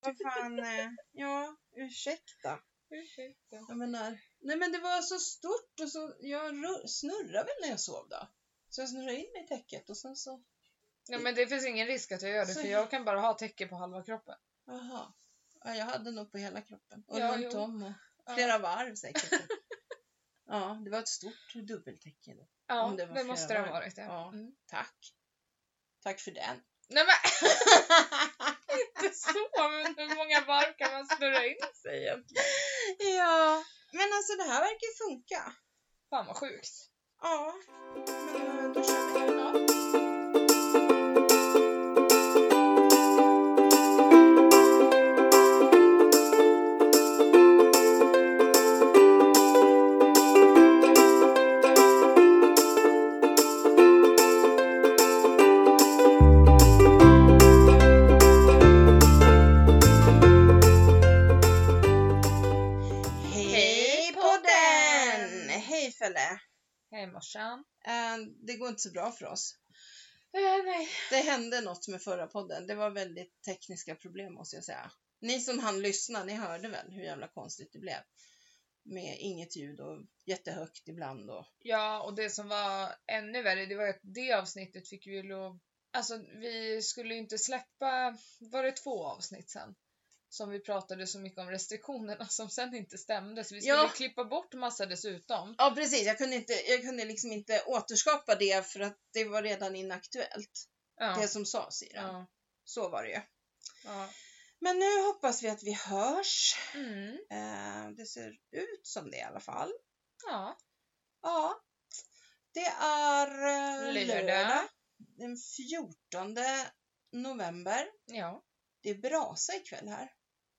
vad fan, eh, ja, ursäkta. Ursäkta. Jag menar, nej men det var så stort och så, jag ru- snurrade väl när jag sov då. Så jag snurrade in mig i täcket och sen så, Ja, men det finns ingen risk att jag gör det Så- för jag kan bara ha täcke på halva kroppen. jaha. Ja, jag hade nog på hela kroppen. Och Ja, runt jo. om och Ja. flera varv säkert. ja, det var ett stort dubbeltäcke. Då. Ja, Om det det, var flera måste det ha varv. varit. Ja. Ja. Mm. Tack. Tack för den. Nej men inte så, men hur många varv kan man snurra in sig egentligen? ja, men alltså det här verkar funka. Fan vad sjukt. Ja, men eh, då kör vi. Hej Hej podden! podden! Hej Felle! Hej morsan. Eh, det går inte så bra för oss. Eh, nej. Det hände något med förra podden. Det var väldigt tekniska problem måste jag säga. Ni som hann lyssna, ni hörde väl hur jävla konstigt det blev. Med inget ljud och jättehögt ibland. Och... Ja, och det som var ännu värre, det var ju att det avsnittet fick vi ju lov... Alltså, vi skulle ju inte släppa... Var det två avsnitt sen? Som vi pratade så mycket om restriktionerna som sen inte stämde. Så vi skulle Ja. klippa bort massa dessutom. Ja precis, jag kunde, inte, jag kunde liksom inte återskapa det för att det var redan inaktuellt. Ja. Det som sades i den. ja. Så var det ju. ja. Men nu hoppas vi att vi hörs. Mm. Eh, det ser ut som det i alla fall. ja. Ja. Det är eh, Lördag. den 14 november. Ja. Det är brasa ikväll här.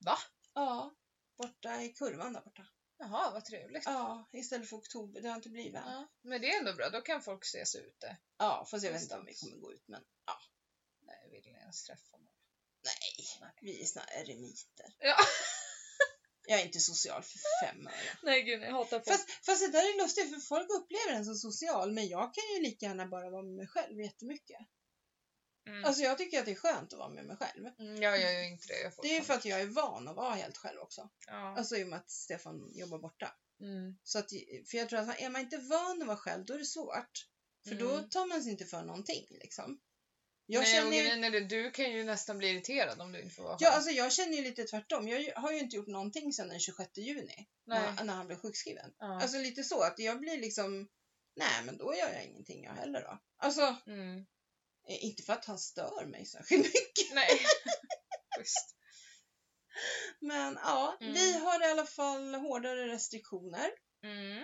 Va? Ja, borta i kurvan där borta. Jaha, vad trevligt. Ja, istället för oktober. Det har inte blivit än. Ja. Men det är ändå bra, då kan folk ses ute. Ja, fast jag vet inte om vi kommer gå ut. Men ja, Nej, jag vill inte ens träffa någon. nej. Vi är såna eremiter. Ja. Jag är inte social för fem öre. Nej gud, jag hatar folk. Fast, fast det där är lustigt för folk upplever den som social men jag kan ju lika gärna bara vara med mig själv jättemycket. Mm. Alltså jag tycker att det är skönt att vara med mig själv. Mm, jag gör ju inte det. Jag får Det är ju för att panik. jag är van att vara helt själv också. Ja. Alltså i och med att Stefan jobbar borta. Mm. Så att, för jag tror att är man inte van att vara själv då är det svårt. För då Mm. tar man sig inte för någonting liksom. Jag, Jag Nej, känner, och ju, grejen är det, du kan ju nästan bli irriterad om du inte får vara ja, själv. alltså, jag känner ju lite tvärtom. Jag ju- har ju inte gjort någonting sedan den 26 juni Nej. när, när han blev sjukskriven. Ja. Alltså lite så att jag blir liksom Nej men då gör jag ingenting jag heller då. Alltså Mm. eh, inte för att han stör mig särskilt mycket. Nej. Schysst. Men ja, Mm. vi har i alla fall hårdare restriktioner. Mm.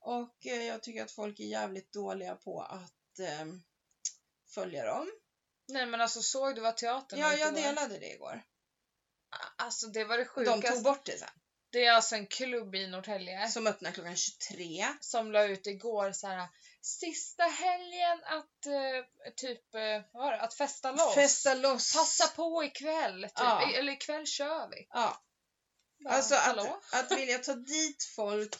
Och eh, jag tycker att folk är jävligt dåliga på att eh, följa dem. Nej men alltså såg du vad teatern Ja, har jag gjort igår? delade det igår. Alltså det var det Och de sjukaste. tog bort det sen. Det är alltså en klubb i Norrtälje Som öppnar klockan 23. som la ut igår så här sista helgen att eh, typ eh, vad var det? att festa loss. Festa loss. Passa på ikväll typ. Ja. Eller ikväll kör vi. Ja, Bara, alltså hallå? att, att vilja ta dit folk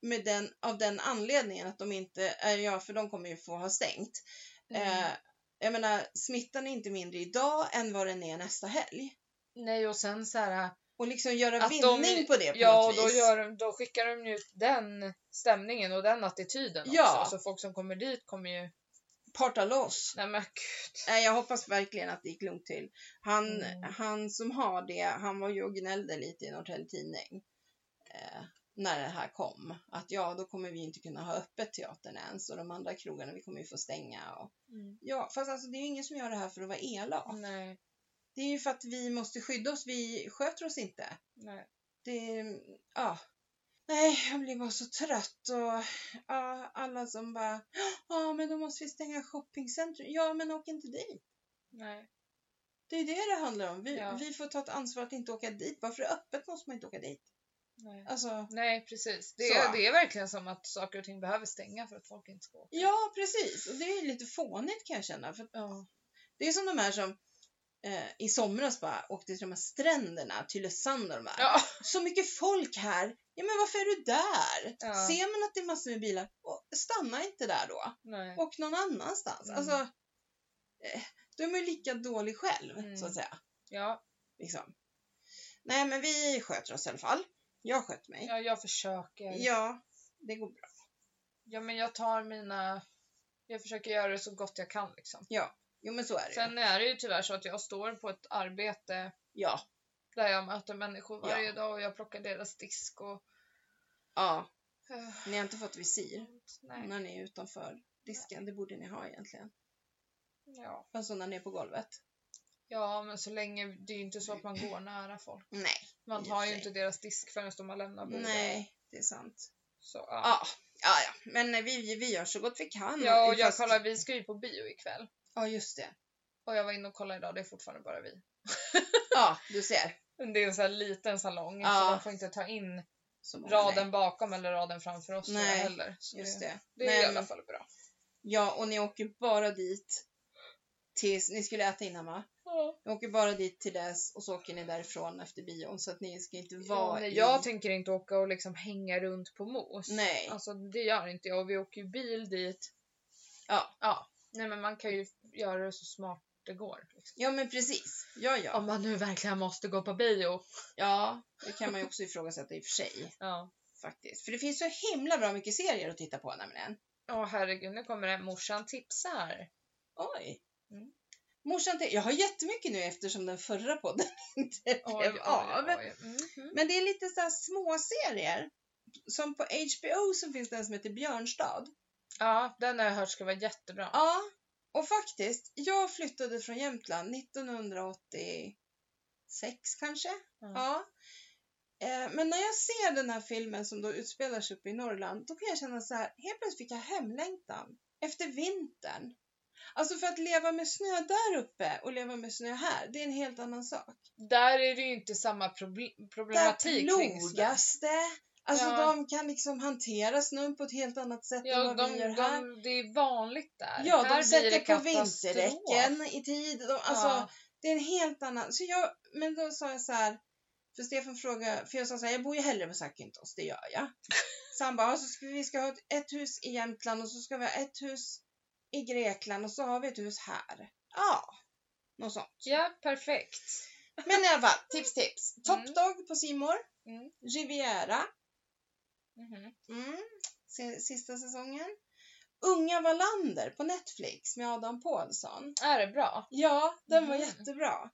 med den, av den anledningen att de inte, eh, ja för de kommer ju få ha stängt. Mm. Eh, jag menar smittan är inte mindre idag än vad den är nästa helg. Nej och sen så här eh, Och liksom göra Att de- vinning på det på Ja, något och då, vis. gör de, då skickar de ju ut den stämningen och den attityden Ja. också. Så folk som kommer dit kommer ju... Parta loss. Nej men gud. Nej, jag hoppas verkligen att det gick lugnt till. Han, Mm. han som har det, han var ju och gnällde lite i Norrtelje Tidning eh, när det här kom. Att ja, då kommer vi inte kunna ha öppet teatern ens och de andra krogarna, vi kommer ju få stänga. Och... Ja, fast alltså det är ju ingen som gör det här för att vara elak. Nej, Det är ju för att vi måste skydda oss, vi sköter oss inte. nej. Det, ja. Nej, jag blir bara så trött och ja, alla som bara, ja men då måste vi stänga shoppingcentrum. Ja, men åk inte dit. nej. Det är det det handlar om. Vi, Ja. vi får ta ett ansvar att inte åka dit. Bara för det är öppet måste man inte åka dit. Nej. Alltså, Nej precis. Det Så. är, det är verkligen som att saker och ting behöver stänga för att folk inte ska åka. ja, precis. Och det är lite fånigt kan jag känna. För Ja. det är som de här som eh, i somras bara åkte till de här stränderna, Tylösand och de här. Ja. Så mycket folk här. Ja, men varför är du där? Ja. Ser man att det är massor med bilar, och stanna inte där då. Nej. Åk någon annanstans. Mm. Alltså, eh, då är man ju lika dålig själv, Mm. så att säga. Ja. Liksom. Nej, men vi sköter oss i alla fall. Jag sköt mig. Ja, jag försöker. Ja, det går bra. Ja, men jag tar mina... Jag försöker göra det så gott jag kan liksom. Jo, men så är det ju. Sen är det ju tyvärr så att jag står på ett arbete Ja, där jag möter människor Ja. varje dag och jag plockar deras disk och... ja. Eh, Ni har inte fått visir nej. när ni är utanför disken. Det borde ni ha egentligen. Ja. Alltså när ni är på golvet. ja, men så länge... Det är ju inte så att man går nära folk. Nej, Man I och tar för ju sig. inte deras disk förrän de har lämnat bordet. nej, det är sant. Så, ja. Ja, ja, ja. men eh, vi, vi gör så gott vi kan. Ja, och jag Fast- kollar, vi ska ju på bio ikväll. Ja, just det. Och jag var inne och kollade idag, det är fortfarande bara vi. Ja, du ser. Det är en sån här liten salong, Ja. så de får inte ta in Så många raden nej. bakom eller raden framför oss Nej, tror jag heller. Så Just det, det. det är Nej, i alla men- fall bra. Ja, och ni åker bara dit tills, ni skulle äta innan va? Ni åker bara dit till dess och så åker ni därifrån efter bion så att ni ska inte Ja, vara nej, i... jag tänker inte åka och liksom hänga runt på mos. Nej. Alltså det gör inte jag. Vi åker ju bil dit. Ja. ja. Nej men man kan ju göra det så smart det går. Liksom. Ja, men precis. Ja, ja. Om man nu verkligen måste gå på bio. Ja, det kan man ju också ifrågasätta i och för sig. Ja. Faktiskt. För det finns så himla bra mycket serier att titta på nämligen. Åh herregud, nu kommer det. Morsan tipsar. Oj! Mm. Morsan, te- jag har jättemycket nu eftersom den förra podden inte Oj, blev oj, av. oj. Mhm. Men det är lite så här små serier. Som på HBO så finns det en som heter Björnstad. Ja, den har jag hört ska vara jättebra. Ja, och faktiskt, jag flyttade från Jämtland 1986 kanske. Ja. Ja. Eh, Men när jag ser den här filmen som då utspelar sig uppe i Norrland, då kan jag känna så här, helt plötsligt fick jag hemlängtan efter vintern. Alltså för att leva med snö där uppe och leva med snö här, det är en helt annan sak. Där är det ju inte samma proble- Där problematik kring snö. plogas det. Alltså Ja. de kan liksom hantera snön på ett helt annat sätt än Ja, vad de, vi gör här. de, det är vanligt där. Ja, här de sätter blir det på katastrof. vinterdäcken i tid. De, alltså, Ja. Det är en helt annan... Så jag, men då sa jag så här, för Stefan frågade, för jag sa så här, jag bor ju hellre på Sakintos, det gör jag. Så han bara, "Ja, så ska vi, vi ska ha ett, ett hus i Jämtland och så ska vi ha ett hus i Grekland och så har vi ett hus här. Ja, något sånt. Ja, perfekt. Men i alla fall, tips tips. Top Mm. Dog på Simor, Mm. Riviera, Mhm. mm. se- sista säsongen. Unga Wallander på Netflix med Adam Pålsson. Är det bra? Ja, den var Mhm. jättebra.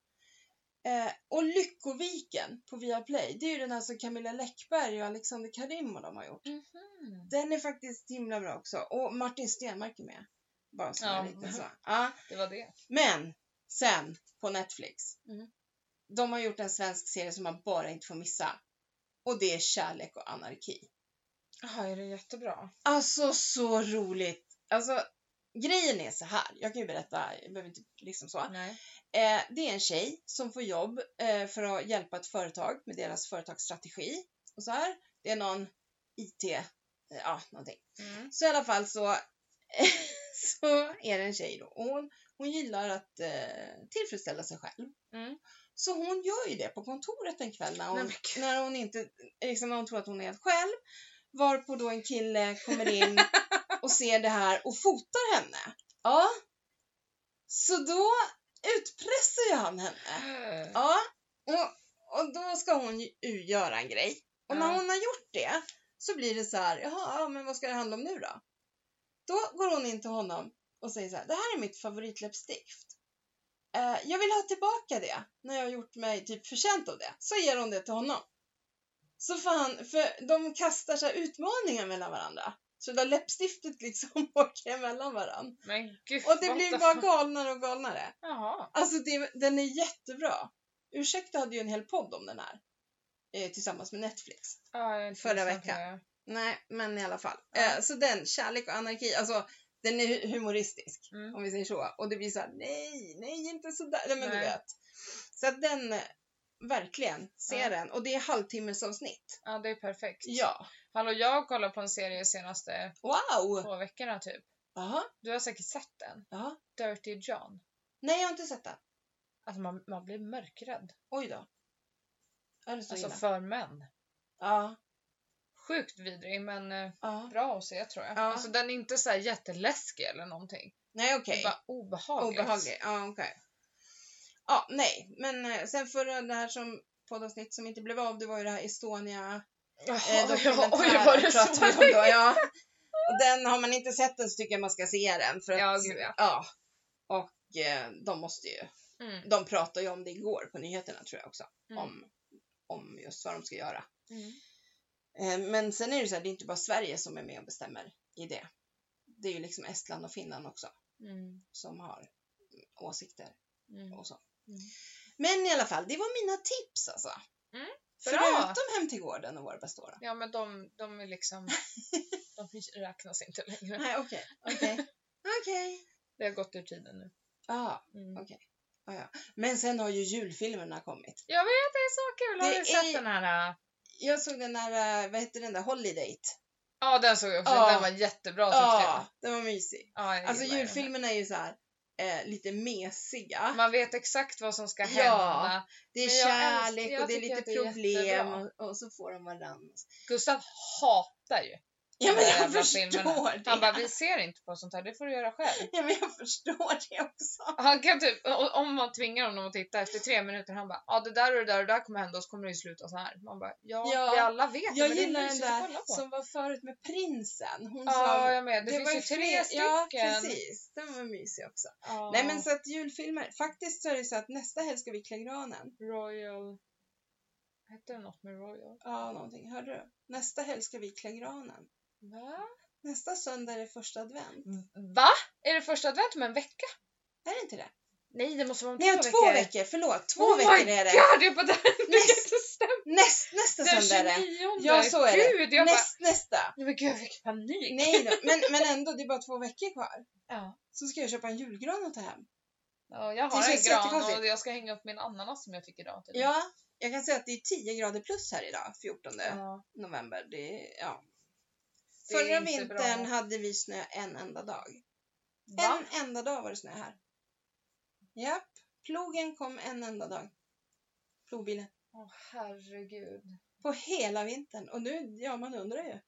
Eh, och Lyckoviken på Viaplay, det är ju den här som Camilla Läckberg och Alexander Karim och de har gjort. Den är faktiskt himla bra också. Och Martin Stenmarck är med. Bara som Ja. en liten så. Ja. Det var det. Men sen på Netflix, Mhm. de har gjort en svensk serie som man bara inte får missa. Och det är Kärlek och anarki. Ja, är det jättebra? Alltså så roligt! Alltså grejen är så här, jag kan ju berätta, jag behöver inte liksom så. Nej. Eh, det är en tjej som får jobb eh, för att hjälpa ett företag med deras företagsstrategi. Och så här. Det är någon IT, eh, ja någonting. Mm. Så i alla fall så, så är det en tjej då. Och hon, hon gillar att eh, tillfredsställa sig själv. Mm. Så hon gör ju det på kontoret en kväll när Nej, hon, men gud. när hon, inte, liksom, när hon tror att hon är helt själv. Varpå då en kille kommer in och ser det här och fotar henne. Ja. Så då utpressar ju han henne. Ja. Och, och då ska hon ju göra en grej. Och när Ja. hon har gjort det så blir det så här, jaha, ja, men vad ska det handla om nu då? Då går hon in till honom och säger så här, det här är mitt favoritläppstift. Eh, jag vill ha tillbaka det när jag har gjort mig typ förtjänt av det. Så ger hon det till honom. Så fan, för de kastar så här utmaningar mellan varandra. Så det där läppstiftet liksom åker emellan varandra. Men gud. Och det what blir the bara fuck. galnare och galnare. Jaha. Alltså det, den är jättebra. Ursäkta hade ju en hel podd om den här. Eh, tillsammans med Netflix. Ja, jag har inte Förra lyssnat på veckan. det. Nej, men i alla fall. Ja. Eh, så den, Kärlek och anarki, alltså den är hu- humoristisk Mm. om vi säger så. Och det blir så här: nej, nej inte sådär. Nej, men du Nej. vet. Så att den, eh, verkligen, se Ja. den. Och det är halvtimmesavsnitt. Ja, det är perfekt. Ja. Hallå, jag kollar på en serie senaste Wow! två veckorna typ. Jaha, Du har säkert sett den. jaha. Dirty John. Nej, jag har inte sett den. Alltså man, man blir mörkrädd. Oj då. Är det så Alltså illa? för män. Ja, Sjukt vidrig men eh, ja. bra att se tror jag. Ja. Alltså den är inte så här jätteläskig eller någonting. Nej, Det okej. är bara obehagligt. Obehaglig. Ja, okej. Ja, nej. Men eh, sen förra, det här som poddavsnitt som inte blev av, det var ju det här Estonia Jaha, Eh, ja, dokumentären oj, var det pratar så vi om länge? då, ja. Och Den, har man inte sett den så tycker jag man ska se den. För att, Ja, gud ja. ja. Och eh, de måste ju, Mm. de pratade ju om det igår på nyheterna tror jag också. Mm. Om, om just vad de ska göra. Mm. Eh, men sen är det ju så här, det är inte bara Sverige som är med och bestämmer i det. Det är ju liksom Estland och Finland också Mm. som har åsikter Mm. och så. Mm. Men i alla fall, det var mina tips alltså. Mm, Förutom Hem till gården och Våra bästa år. Ja, men de, de är liksom... de räknas inte längre. Nej, okej. Okej. Okej. Det har gått ur tiden nu. Ja. Mm. Men sen har ju julfilmerna kommit. Jag vet, det är så kul! Har Det du sett är- den här? äh? Jag såg den där, eh, vad hette den där, Holiday? Ja, den såg jag också. Ja. Den var jättebra tyckte jag. Ja, den var mysig. Ja, jag Alltså gillar den. julfilmerna är ju så här eh, lite mesiga. Man vet exakt vad som ska Ja. hända. Det är men jag älsk- kärlek jag och det är tycker lite att det är problem jättebra. och, och så får de varandra. Gustav hatar ju Ja men de här jag jävla förstår filmerna. det. Han bara, vi ser inte på sånt här, det får du göra själv. Ja men jag förstår det också. Han kan typ, o- om man tvingar honom att titta efter tre minuter, han bara ja det där och det där och det där kommer hända och så kommer det ju sluta så här. Man bara ja, Ja. vi alla vet det, Jag men gillar det den är mysigt att kolla där på. som var förut med prinsen. Hon Ja, jag med. Det, var finns ju fler- tre stycken. Ja precis, den var mysig också. Ja. Nej men så att julfilmer, faktiskt så är det så att nästa helg ska vi klä granen. Royal... Hette det något med Royal? Ja, någonting. Hörde du? Nästa helg ska vi klä granen. Va? Nästa söndag är det första advent. Va? Är det första advent om en vecka? Är det inte det? Nej, det måste vara om Nej, om två, två veckor. veckor. Förlåt, två Oh my veckor är det. God, jag bara, det kan Näst, inte stämma. näst, nästa Den söndag är det. 29. Ja, så är det. Gud, jag bara, Näst, nästa. nej men gud jag fick panik. Nej då. Men, men ändå, det är bara två veckor kvar. Ja. Så ska jag köpa en julgran och ta hem. Ja, jag Det har en känns gran jättekonstigt. och jag ska hänga upp min ananas som jag typ. fick idag. tydligen. Ja, jag kan säga att det är 10 grader plus här idag, 14 Ja. november. Det är, ja. Det är Förra inte vintern bra. hade vi snö en enda dag. Va? En enda dag var det snö här. Japp. Plogen kom en enda dag. Plogbilen. Åh herregud. På hela vintern. Och nu, ja man undrar ju.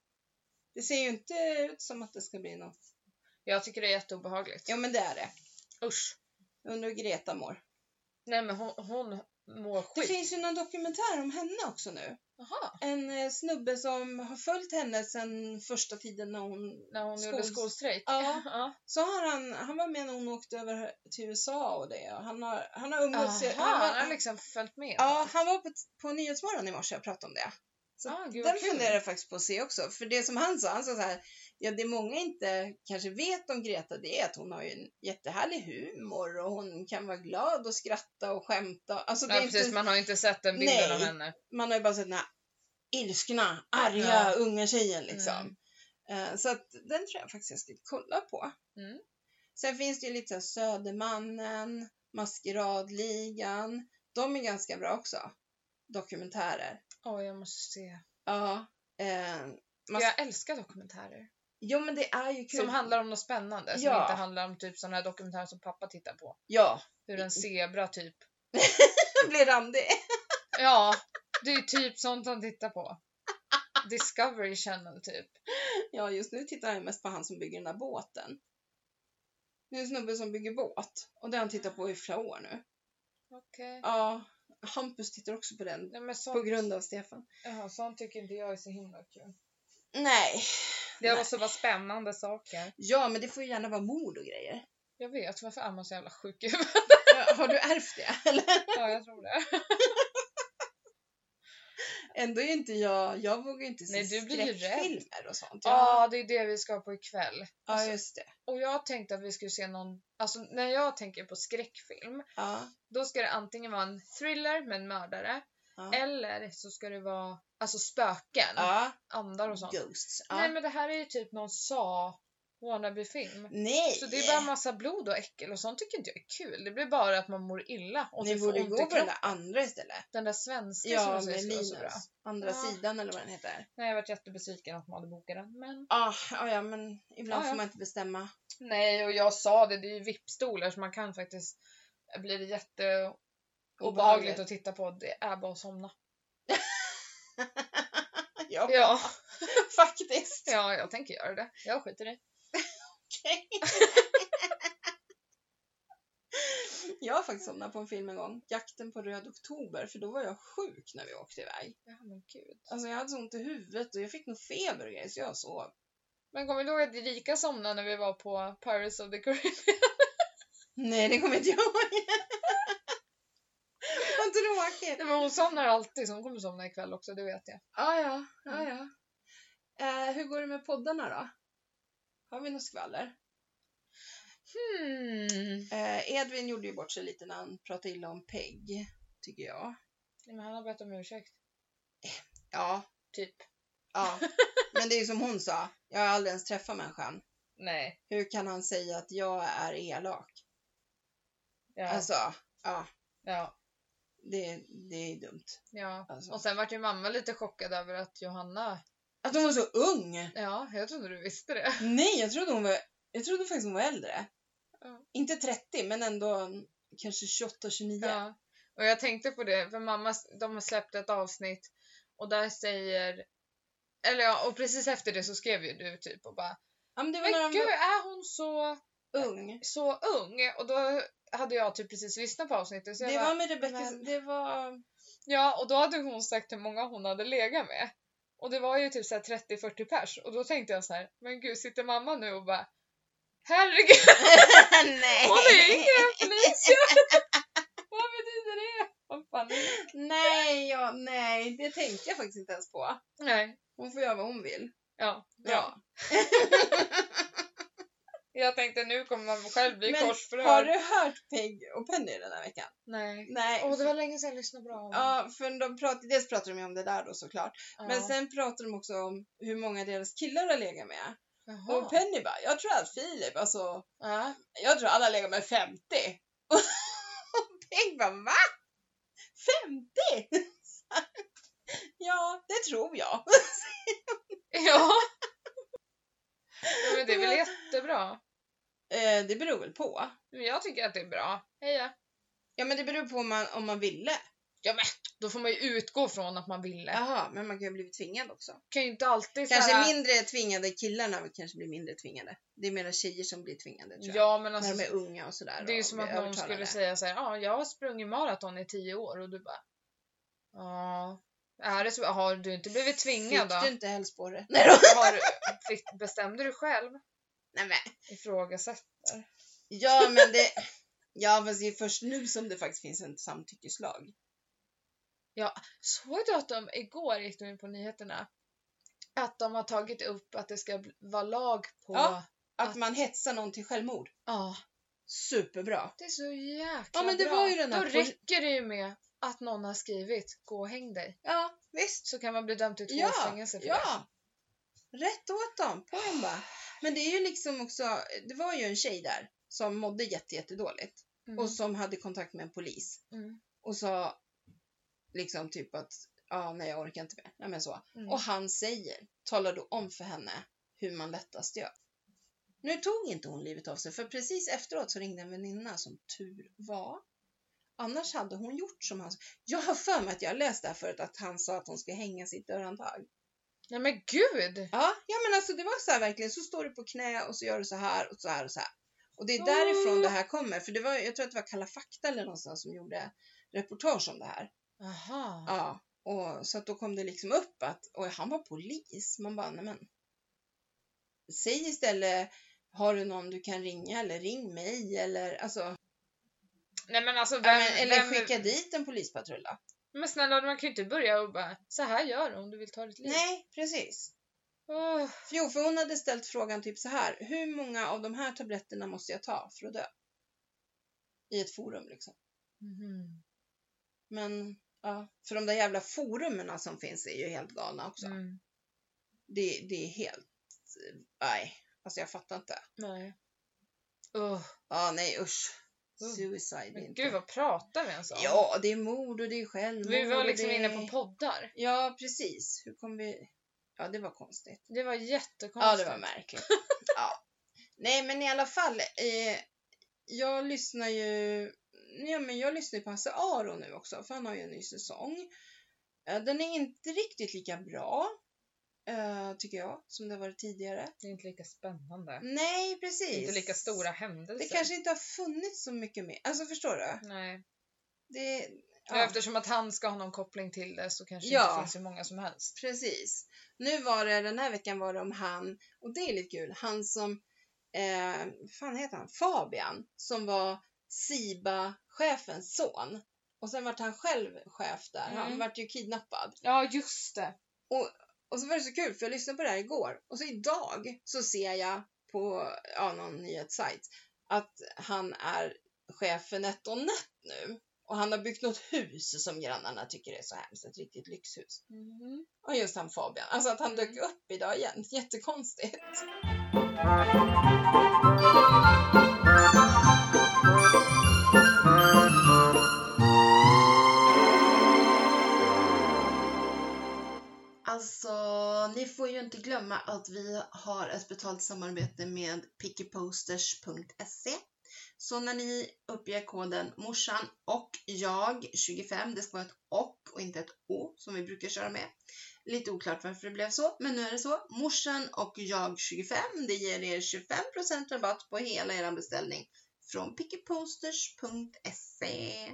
Det ser ju inte ut som att det ska bli något. Jag tycker det är jätteobehagligt. Jo men det är det. Usch. Undrar hur Greta mår. Nej men hon, hon mår Det skit. finns ju någon dokumentär om henne också nu. Jaha. En eh, snubbe som har följt henne sedan första tiden när hon... När hon gjorde Skols- skolstrejk. Ja. ja. Så har han, han var med när hon åkte över till USA och det. Och han har, han har umgåtts... Jaha, han var- han har liksom följt med. Ja, han var på, på Nyhetsmorgon i morse och pratade om det. Så Ah, gud, vad den kul. funderar jag faktiskt på att se också. För det som han sa, han sa så här, ja det många inte kanske vet om Greta det är att hon har ju en jättehärlig humor och hon kan vara glad och skratta och skämta. Alltså det ja är precis, inte, man har ju inte sett den bilden Nej. av henne. man har ju bara sett den här ilskna, arga Ja. unga tjejen liksom. Mm. Eh, Så att den tror jag faktiskt jag ska kolla på. Mm. Sen finns det ju lite så här Södermannen, Maskeradligan. De är ganska bra också. Dokumentärer. Åh, jag måste se. Ja. Eh, Gud, mas- Jag älskar dokumentärer. Jo men det är ju kul. Som handlar om något spännande. Som Ja. inte handlar om typ sådana här dokumentärer som pappa tittar på. Ja. Hur en zebra typ... Den blir randig. Ja, det är ju typ sånt han tittar på. Discovery Channel typ. Ja just nu tittar jag mest på han som bygger den där båten. Det är en snubbe som bygger båt. Och det har han tittat på i flera år Mm. nu. Okej. Ja. Hampus tittar också på den. Nej, men På sånt, grund av Stefan. ja, sånt tycker inte jag är så himla kul. Nej. Det Nej. måste vara spännande saker. Ja men det får ju gärna vara mord och grejer. Jag vet, varför är man så jävla sjuk i huvudet? Ja, Har du ärvt det? Eller? Ja, jag tror det. Ändå är inte jag, jag vågar ju inte se Nej, du blir ju rädd. skräckfilmer och sånt. Ja, alltså. det är det vi ska på ikväll. ja just det. Och jag tänkte att vi skulle se någon, alltså när jag tänker på skräckfilm, Ja. då ska det antingen vara en thriller med en mördare, Ja. eller så ska det vara alltså spöken, ja. andar och sånt. Ghosts. Ja. Nej men det här är ju typ någon sa wannabe-film. Nej. Så det är bara massa blod och äckel och sånt tycker inte jag är kul. Det blir bara att man mår illa och Ni det får borde ont gå i på den kroppen. där andra istället. Den där svenska som Ja, jag säger med skulle vara så bra. Linus. Andra Ja. sidan eller vad den heter. Nej, jag varit jättebesviken att man hade bokat den. Men... Ah, ah, ja, men ibland Ah, ja. får man inte bestämma. Nej, och jag sa det, det är ju VIP-stolar så man kan faktiskt bli det jätteobehagligt att titta på. Det är bara att somna. Ja, Ja, faktiskt. ja jag tänker göra det. Jag skiter i. Jag har faktiskt somnat på en film en gång, Jakten på röd oktober, för då var jag sjuk när vi åkte iväg. Ja, men gud. Alltså jag hade så ont i huvudet och jag fick nog feber och grejer, så jag sov. Men kommer du ihåg att Erika somnade när vi var på Pirates of the Caribbean? Nej, det kommer inte jag ihåg. Vad tråkigt. Nej, men hon somnar alltid, så hon kommer somna ikväll också, det vet jag. Ah, ja, ah, ja. Eh, hur går det med poddarna då? Har vi något skvaller? Hmm. Eh, Edvin gjorde ju bort sig lite när han pratade illa om Peg, tycker jag. Nej, men han har bett om ursäkt. Ja, Typ. ja. Men det är ju som hon sa, jag har aldrig ens träffat människan. Nej. Hur kan han säga att jag är elak? Ja. Alltså, ja, ja. det, det är dumt. ja. Alltså. Och sen vart ju mamma lite chockad över att Johanna... Att hon var så ung! Ja, jag trodde du visste det. Nej, jag trodde, hon var, jag trodde faktiskt hon var äldre. Ja. Inte 30, men ändå kanske 28, 29. Ja. Och jag tänkte på det, för mamma de har släppt ett avsnitt och där säger... Eller ja, och precis efter det så skrev ju du typ och bara Ja, men det var Men när han gud, var är hon så, ung. så ung? Och då hade jag typ precis lyssnat på avsnittet så jag Det bara, var med Rebecka, men- det var... Ja, och då hade hon sagt hur många hon hade legat med. Och det var ju typ så här 30-40 pers och då tänkte jag så här, men gud sitter mamma nu och bara Herregud, Nej! hon är yngre än Felicia! Vad betyder det? Vad fan är det? Nej, ja, nej, det tänkte jag faktiskt inte ens på. Nej, Hon får göra vad hon vill. ja, bra. Ja. Jag tänkte nu kommer man själv bli Men korsförhörd. Har du hört Peg och Penny den här veckan? Nej. Nej. Åh, det var länge sedan jag lyssnade bra om Ja, för de pratade, dels pratade de ju om det där då såklart. Ja. Men sen pratade de också om hur många deras killar har legat med. Jaha. Och Penny bara, jag tror att Filip, alltså, ja. jag tror alla har legat med 50. Och Peg bara, va? 50? ja, det tror jag. ja. Men det är väl jättebra. Eh, det beror väl på. Men jag tycker att det är bra. Heja. Ja, men det beror på om man, om man ville. Ja men, då får man ju utgå från att man ville. Jaha, men man kan ju bli tvingad också. Kan ju inte alltid Kanske såhär- mindre tvingade, killarna kanske blir mindre tvingade. Det är mera tjejer som blir tvingade tror jag. Ja men alltså, När de är unga och sådär. det är ju och som blir att någon övertalade. skulle säga så här, ja jag har sprungit maraton i tio år och du bara, ja. Är det så, har du inte blivit tvingad Fick då? du inte hälsporre? Nej då! Har, du- fick, bestämde du själv? Nej, men. Ifrågasätt. Ja men det... Ja fast det är först nu som det faktiskt finns en samtyckeslag. Såg du att de igår gick de in på nyheterna? Att de har tagit upp att det ska bli- vara lag på... Ja. Att Att- man hetsar någon till självmord. Ja, Superbra! det är så jäkla Ja, men det bra. var ju den här Då pol- räcker det ju med att någon har skrivit “gå och häng dig” Ja visst! så kan man bli dömd till två års Ja! fängelse för det. ja. Rätt åt dem! På dem bara. Men det är ju liksom också, det var ju en tjej där som mådde jätte, jättedåligt Mm. och som hade kontakt med en polis Mm. och sa liksom typ att ja, nej jag orkar inte mer. Nej, men så. Mm. Och han säger, talar då om för henne hur man lättast gör. Nu tog inte hon livet av sig för precis efteråt så ringde en väninna som tur var. Annars hade hon gjort som han Jag har för mig att jag läste det här förut att han sa att hon ska hänga sitt dörrhandtag. Nej men gud! Ja, ja men alltså det var så här verkligen. Så står du på knä och så gör du så här och så här och så här. Och det är därifrån det här kommer. För det var, jag tror att det var Kalla fakta eller någonstans som gjorde reportage om det här. Aha. Ja, och så att då kom det liksom upp att och han var polis. Man bara, nej men. Säg istället, har du någon du kan ringa eller ring mig eller alltså, Nej men alltså ja, vem... men, eller vem skicka dit en polispatrull då. Men snälla man kan ju inte börja och bara “så här gör du om du vill ta ditt liv”. Nej, precis. Åh, För Liksom. Jo, för hon hade ställt frågan typ så här, hur många av de här tabletterna måste jag ta för att dö? I ett forum liksom. mhm. Men ja, för de där jävla forumen som finns är ju helt galna också. Mm. Det, det är helt, nej, alltså jag fattar inte. Nej. Åh, Ja, nej usch. Mm. Suicide är men inte... gud vad pratar vi ens om? Ja, det är mord och det är självmord. vi var och liksom det... är- inne på poddar. Ja, precis. Hur kom vi... Ja, det var konstigt. Det var Ja, jättekonstigt. det var märkligt. ja. Nej, men i alla fall. Eh, jag lyssnar ju... Ja, men jag lyssnar ju på Hasse Aro nu också, för han har ju en ny säsong. Eh, den är inte riktigt lika bra. eh, tycker jag, som det har varit tidigare. Det är inte lika spännande. Nej, Det är precis. inte lika stora händelser. Det kanske inte har funnits så mycket mer. Alltså förstår du? Nej. Det, Och Eftersom att han ska ha någon koppling till det så kanske det Ja. inte finns hur många som helst. Precis. Nu var det, den här veckan var det om han, och det är lite kul, han som, eh, vad fan heter han, Fabian, som var SIBA-chefens son. Och sen vart han själv chef där, Mm. han vart ju kidnappad. Ja, just det. Och så var det så kul, för jag lyssnade på det här igår, och så idag så ser jag på ja, någon nyhetssajt att han är chef för NetOnNet nu. Och han har byggt något hus som grannarna tycker är så hemskt, ett riktigt lyxhus. Mhm. Och just han Fabian. Alltså att han Mm. dök upp idag igen. Jättekonstigt. Alltså, ni får ju inte glömma att vi har ett betalt samarbete med pickyposters.se. Så när ni uppger koden morsan och jag 25, det ska vara ett och och inte ett o som vi brukar köra med. Lite oklart varför det blev så, men nu är det så. Morsan och jag 25, det ger er 25% rabatt på hela er beställning från pickeposters.se.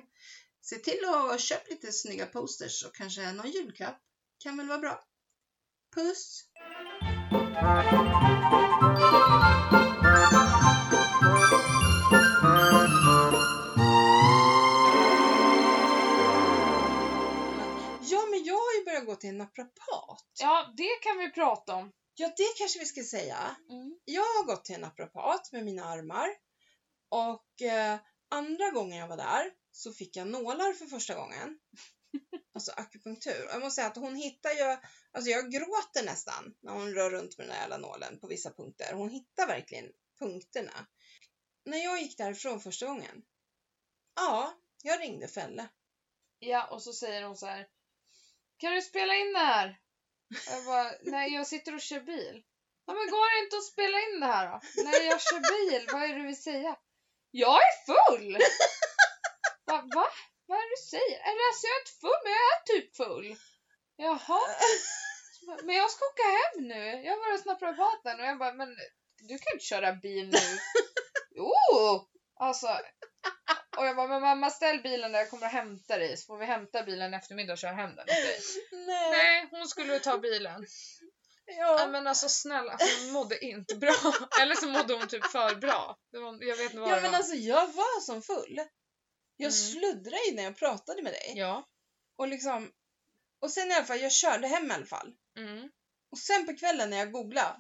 Se till att köpa lite snygga posters och kanske någon julklapp. Kan väl vara bra. Puss! Ja, men jag har ju börjat gå till en naprapat. Ja, det kan vi prata om. Ja, det kanske vi ska säga. Mm. Jag har gått till en naprapat med mina armar och eh, andra gången jag var där så fick jag nålar för första gången. Alltså akupunktur. Och Jag måste säga att hon hittar ju, alltså jag gråter nästan när hon rör runt med den där jävla nålen på vissa punkter. Hon hittar verkligen punkterna. När jag gick därifrån första gången, ja, jag ringde Fälle. Ja, och så säger hon så här. Kan du spela in det här? Och jag bara, nej jag sitter och kör bil. Ja men går det inte att spela in det här då? Nej jag kör bil, vad är det du vill säga? Jag är full! Va? va? Vad är det du säger? Eller alltså jag är inte full, men jag är typ full. Jaha. Så bara, Men jag ska åka hem nu. Jag var hos naprapaten och jag bara, men du kan inte köra bil nu. Jo! Alltså, och jag bara, men mamma ställ bilen där jag kommer och hämta dig så får vi hämta bilen i eftermiddag och köra hem den åt dig. Nej, Nej, hon skulle ta bilen. Ja, ja. men alltså snälla, hon mådde inte bra. Eller så mådde hon typ för bra. Det var, jag vet inte vad ja, det men var. alltså jag var som full. Jag Mm. sluddrade ju när jag pratade med dig. Ja. Och liksom, och sen i alla fall, jag körde hem i alla fall. Mm. Och sen på kvällen när jag googlade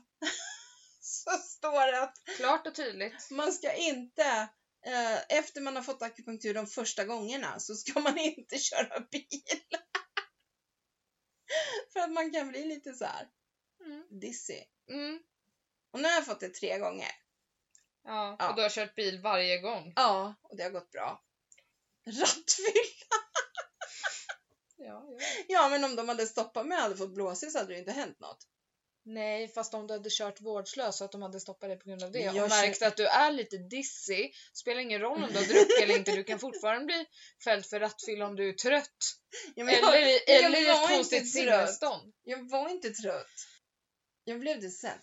så står det att Klart och tydligt. man ska inte, eh, efter man har fått akupunktur de första gångerna, så ska man inte köra bil. För att man kan bli lite så här Mm. dizzy. Mm. Och nu har jag fått det tre gånger. Ja. Ja. Och du har kört bil varje gång. Ja, och det har gått bra. Rattfyll! Ja, Ja, men om de hade stoppat mig och hade fått blåsig så hade det ju inte hänt något. Nej, fast om du hade kört vårdslös så att de hade stoppat dig på grund av det Jag och kör- märkt att du är lite dizzy, spelar ingen roll om du har druckit eller inte, du kan fortfarande bli fälld för rattfylla om du är trött. Ja, men jag- Eller, i- jag eller i var ett inte konstigt trött. sinnestånd. Jag var inte trött. Jag blev det sen.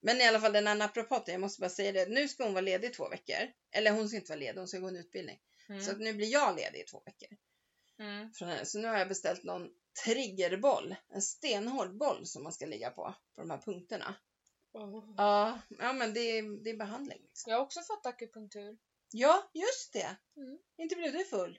Men i alla fall den här naprapaten, jag måste bara säga det. Nu ska hon vara ledig i två veckor. Eller hon ska inte vara ledig, hon ska gå en utbildning. Så att Mm. nu blir jag ledig i två veckor. Mm. Från henne. Så nu har jag beställt någon triggerboll. En stenhård boll som man ska ligga på. På de här punkterna. Ja, ja men det är, det är behandling. Liksom. Jag har också fått akupunktur. Ja, just det. Mm. Inte blev du full.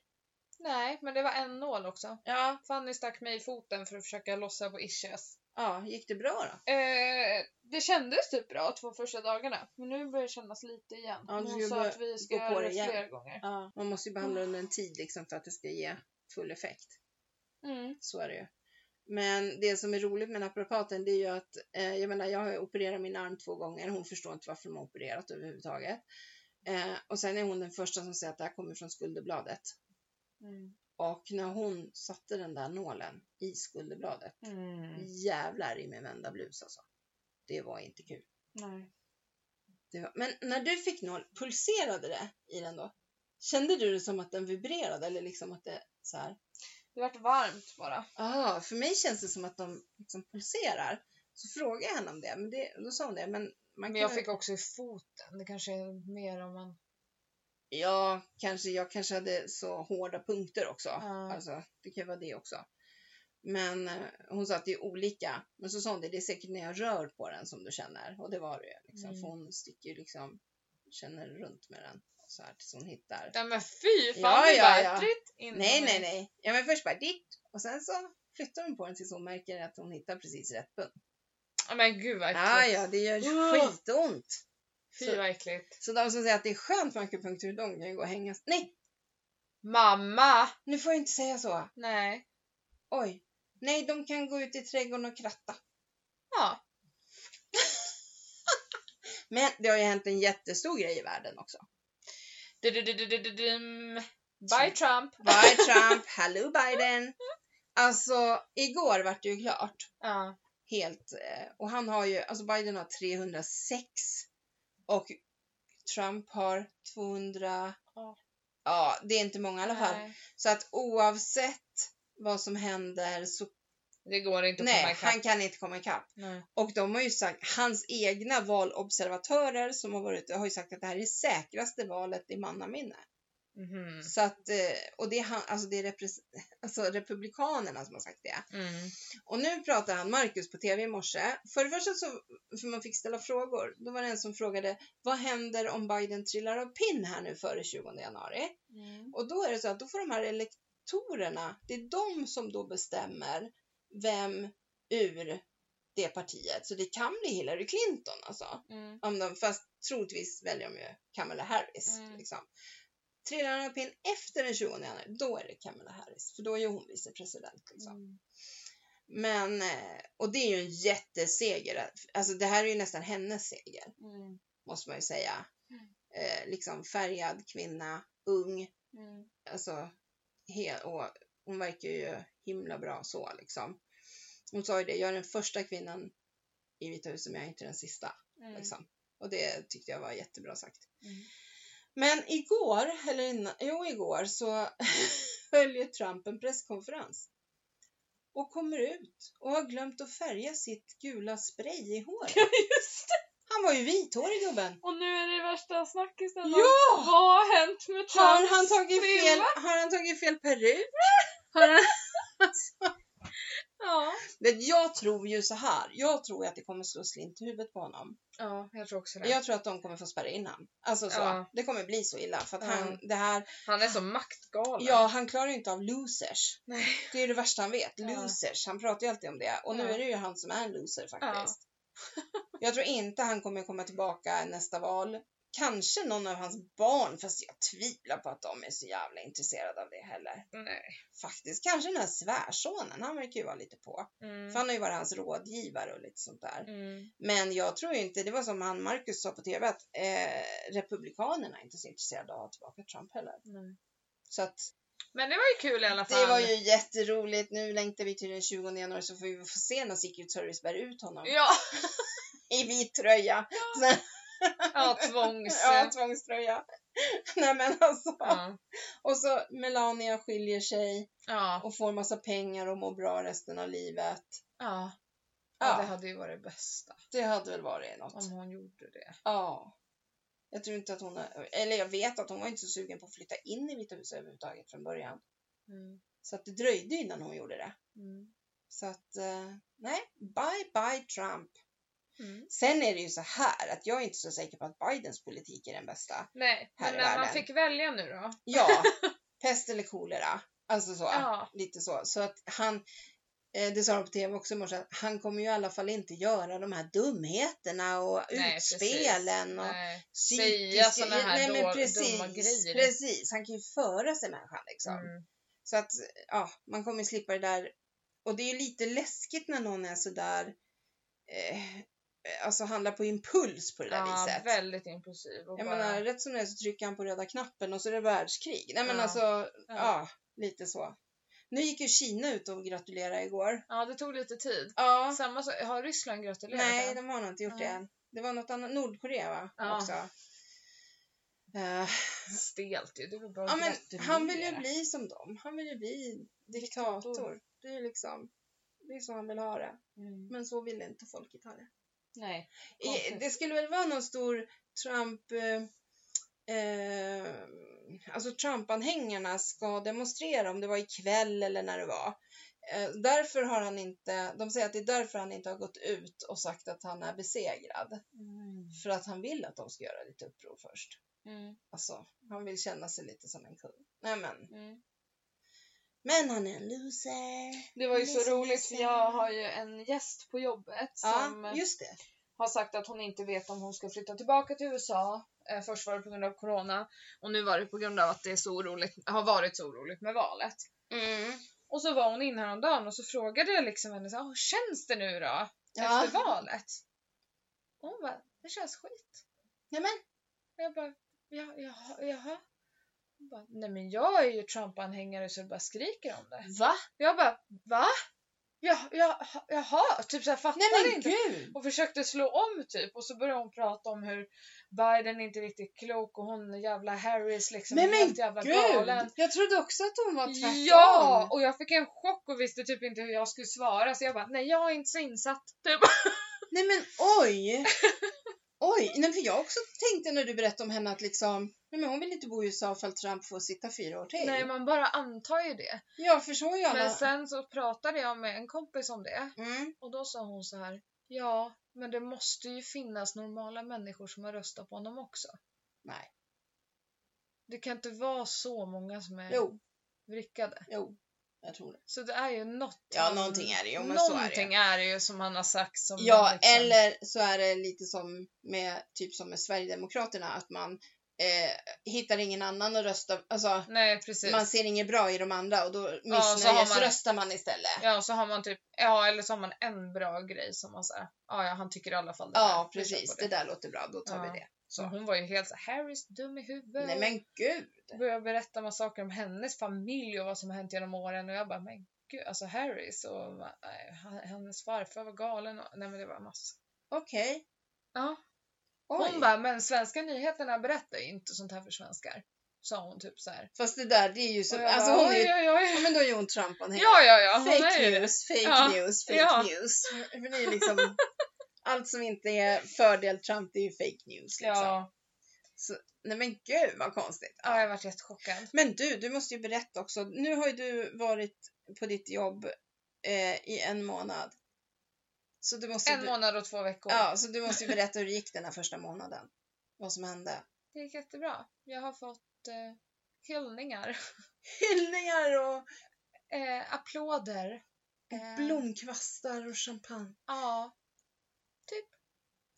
Nej, men det var en nål också. Ja. Fanny stack mig i foten för att försöka lossa på ischias. Ja, gick det bra då? Eh, det kändes typ bra två första dagarna, men nu börjar det kännas lite igen. Ja, Men du Hon ska sa börja att vi ska gå på göra det det igen. fler gånger. Ja. Man måste ju behandla under en tid liksom för att det ska ge full effekt. Mm. så är det ju. Men det som är roligt med naprapaten det är ju att, eh, jag menar jag har ju opererat min arm två gånger, hon förstår inte varför de har opererat överhuvudtaget. Eh, och sen är hon den första som säger att det här kommer från skulderbladet. Mm. Och när hon satte den där nålen i skulderbladet, Mm. jävlar i min vända blus alltså. Det var inte kul. Nej. Det var... Men när du fick nål, pulserade det i den då? Kände du det som att den vibrerade eller liksom att det så här? Det vart varmt bara. Ah, för mig känns det som att de liksom pulserar. Så frågade jag henne om det, men det, då sa hon det. Men, man Men kan jag ju- fick också i foten. Det kanske är mer om man... Ja, kanske, jag kanske hade så hårda punkter också. Ja. Alltså, det kan ju vara det också. Men eh, hon sa att det är olika. Men så sa hon det, det är säkert när jag rör på den som du känner. Och det var det ju. Liksom. Mm. För hon sticker ju liksom, känner runt med den. Så här tills hon hittar. Nej men fy fan Ja, det ja, var ja. ättrigt innan Nej, vi- nej, nej. Ja, men först bara ditt. Och sen så flyttar hon på den tills hon märker att hon hittar precis rätt punkt. Ja, Men gud vad äckligt. Ja, ja, det gör Ah. skitont. Fy vad äckligt. Så de som säger att det är skönt med akupunktur, de kan ju gå och hänga. Nej, Mamma! nu får jag inte säga så. Nej. Oj. Nej, de kan gå ut i trädgården och kratta. Ja. Men det har ju hänt en jättestor grej i världen också. Du-du-du-du-du-du-dum. Bye Typ. Trump! Bye Trump, hello Biden. Alltså, igår vart det ju klart. Ja. Helt. eh, Och han har ju, alltså Biden har 306 och Trump har 200. Ja. Ja, det är inte många i alla fall. Nej. Så att oavsett vad som händer så Det går inte att komma nej, ikapp. han kan inte komma ikapp. Nej. Och de har ju sagt, hans egna valobservatörer som har varit har ju sagt att det här är det säkraste valet i mannaminne. Mhm. Så att, eh, och det är, han, alltså det är repres- alltså republikanerna som har sagt det. Mm. Och nu pratar han Marcus på tv i morse. För det första så, för man fick ställa frågor, då var det en som frågade vad händer om Biden trillar av pinn här nu före 20 januari? Mm. Och då är det så att då får de här elektorerna, det är de som då bestämmer vem ur det partiet. Så det kan bli Hillary Clinton alltså. Mm. Om de, fast troligtvis väljer de ju Kamala Harris. Mm. Liksom. Trillar han upp in efter den 20 januari, då är det Kamala Harris. För då är ju hon vicepresident. Liksom. Mm. Men, eh, och det är ju en jätteseger. Alltså det här är ju nästan hennes seger, Mm. måste man ju säga. Mm. Eh, liksom färgad kvinna, ung, Mm. alltså, he- och hon verkar ju himla bra så liksom. Hon sa ju det, jag är den första kvinnan i Vita huset men jag är inte den sista. Mm. Liksom. Och det tyckte jag var jättebra sagt. Mm. Men igår, eller innan, jo igår, så höll ju Trump en presskonferens. Och kommer ut och har glömt att färga sitt gula spray i håret. Just det! Han var ju vithårig gubben. Och nu är det värsta snackisen. om Ja! Vad har hänt med Trumps Har han tagit fel, film? har han tagit fel peruk? Har han... Ja. Men jag tror ju så här. Jag tror att det kommer slå slint i huvudet på honom. ja, jag tror också det. Jag tror att de kommer få spärra in honom. Alltså så. Ja. Det kommer bli så illa. För att Ja. han, det här, Han är så maktgalen. ja, han klarar ju inte av losers. Nej. Det är ju det värsta han vet. Ja. Losers. Han pratar ju alltid om det. Och nu Ja. är det ju han som är en loser faktiskt. jag tror inte han kommer komma tillbaka nästa val. Kanske någon av hans barn, fast jag tvivlar på att de är så jävla intresserade av det heller. Nej. Faktiskt, kanske den här svärsonen, han verkar ju vara lite på. Mm. För han har ju varit hans rådgivare och lite sånt där. Mm. Men jag tror inte, det var som han Marcus sa på TV, att eh, Republikanerna är inte så intresserade av att ha tillbaka Trump heller. Nej. Så att Men det var ju kul i alla fall. det var ju jätteroligt. Nu längtar vi till den 20 januari så får vi få se när Secret Service bär ut honom Ja, i vit tröja. ja tvångs... Ja, tvångströja. Nej men alltså. ja. Och så Melania skiljer sig Ja. och får massa pengar och mår bra resten av livet. Ja. ja, Ja, det hade ju varit det bästa det hade väl varit något. om hon gjorde det. Ja. Jag tror inte att hon, har- eller jag vet att hon var inte så sugen på att flytta in i Vita huset överhuvudtaget från början. Mm. Så att det dröjde innan hon gjorde det. Mm. Så att, eh, nej, bye bye Trump. Mm. Sen är det ju så här att jag är inte så säker på att Bidens politik är den bästa. Nej, Här men i när man världen. fick välja nu då? Ja, pest eller kolera. Alltså så, Ja. lite så. Så att han, eh, det sa de på tv också i morse, att han kommer ju i alla fall inte göra de här dumheterna och Nej, precis. utspelen. Och, Nej. psykiska- Säga såna här nej, men då- precis, dumma grejer. Precis, han kan ju föra sig människan liksom. Mm. Så att ja, man kommer ju slippa det där. Och det är ju lite läskigt när någon är sådär, eh, alltså handlar på impuls på det där Ja, viset. väldigt impulsiv. Och Jag bara, menar, rätt som det är så trycker han på röda knappen och så är det världskrig. Nej men Ja. alltså, ja. ja. lite så. Nu gick ju Kina ut och gratulerade igår. ja, det tog lite tid. Ja, Samma så, har Ryssland gratulerat? nej än? de har nog inte gjort det Nej. än. Det var något annat, Nordkorea va? Ja. Också. Eh, Stelt ju, det var bara ja, att men gratulera. han vill ju bli som dem. Han vill ju bli diktator. Diktator. Det är liksom det är så han vill ha det. Mm. Men så vill inte folket ha det. Nej. I, Konstigt. det skulle väl vara någon stor Trump... Eh, eh, alltså Trump-anhängarna ska demonstrera om det var ikväll eller när det var. Eh, därför har han inte... De säger att det är därför han inte har gått ut och sagt att han är besegrad. Mm. För att han vill att de ska göra lite uppror först. Mm. Alltså, han vill känna sig lite som en kung. Nej men. Mm. Men han är en loser. Det var ju Lisa, så roligt för Lisa. jag har ju en gäst på jobbet som Ja, just det. har sagt att hon inte vet om hon ska flytta tillbaka till USA. Eh, Först var det på grund av corona och nu var det på grund av att det är så oroligt, har varit så oroligt med valet. Och så var hon in häromdagen och så frågade jag liksom henne så här, "Hur känns det nu då? Ja. Efter valet? Och hon bara, det känns skit. Nej men. Och jag bara, ja, jaha, jaha. Hon bara, nej men jag är ju Trump-anhängare så det bara skriker om det. Va? Jag bara, va? Ja, ja, jaha, typ såhär fattar Nej men inte. gud. Och försökte slå om typ och så började hon prata om hur Biden inte är riktigt klok och hon jävla Harris liksom Nej, är men helt jävla galen. Gud! Jag trodde också att hon var tvärtom. Ja! Och jag fick en chock och visste typ inte hur jag skulle svara så jag bara nej jag är inte så insatt. Typ. Nej men oj! Oj, nej, för jag också tänkte när du berättade om henne att liksom, nej men hon vill inte bo i USA för att Trump får sitta fyra år till. Nej man bara antar ju det. Ja, för så är ju alla. Men sen så pratade jag med en kompis om det Mm. och då sa hon så här ja men det måste ju finnas normala människor som har röstat på honom också. Nej. Det kan inte vara så många som är Jo, vrickade. jo, jag tror det. Så det är ju något. Ja, han- någonting är det ju, men så är det. någonting är det ju som han har sagt som man Ja, liksom- eller så är det lite som med, typ som med Sverigedemokraterna, att man eh, hittar ingen annan att rösta, alltså Nej precis. man ser inget bra i de andra och då så har man- missnöjesröstar man... istället. Ja, så har man typ, ja eller så har man en bra grej som man säger, ja ja han tycker i alla fall det här. Ja, Vi kör precis. på Det där låter bra, då tar Ja. vi det. Så hon var ju helt så här, Harris dum i huvudet. Nej men gud! och började berätta massa saker om hennes familj och vad som hänt genom åren och jag bara, men gud alltså Harris och nej, han- hennes farfar var galen och, nej men det var massa. Okej. Ja. Oj. Hon bara, men svenska nyheterna berättar ju inte sånt här för svenskar. Sa hon typ så här. Fast det där, det är ju Och så... jag Alltså bara, hon är oj, ju... oj, oj. Ja, men då är ju hon Trump-anhängare. Ja, ja, ja, hon är fake ju det. news, fake Ja. news, fake Ja. news. För det är liksom... Allt som inte är fördel Trump, det är ju fake news. Liksom. Ja, Nej men gud vad konstigt. ja jag varit jättechockad. Men du, du måste ju berätta också. Nu har ju du varit på ditt jobb eh, i en månad. Så du måste, En du- månad och två veckor. Ja, så du måste ju berätta hur det gick den här första månaden. Vad som hände. Det gick jättebra. Jag har fått eh, hyllningar, Hyllningar och eh, applåder. Eh, blomkvastar och champagne. Ja,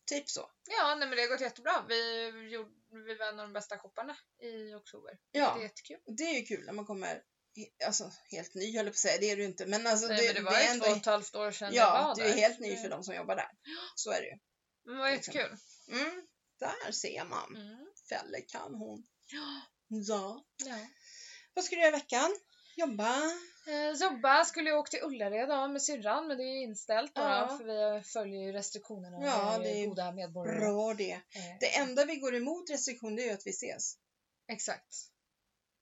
Typ så. ja nej, men det har gått jättebra. Vi, gjorde, vi var en av de bästa shopparna i oktober. Ja. Det är jättekul. Och det är ju kul när man kommer he- alltså, helt ny, höll jag på att säga. Det är du inte. Men alltså, Nej, det, men det var är ju ändå... två och ett halvt år sedan jag Ja, var du där. är helt ny för Mm. de som jobbar där. Så är det ju. Men det var jättekul. Mm, där ser man. Mm. Fäller kan hon. Ja. Ja. Ja. Vad ska du göra i veckan? Jobba? Eh, Jobba skulle jag åka till Ullared ja, med syrran men det är ju inställt då, Ja. för vi följer ju restriktionerna. och Ja, vi det är goda medborgare. Bra det. Eh, Det enda vi går emot restriktion det är ju att vi ses. Exakt.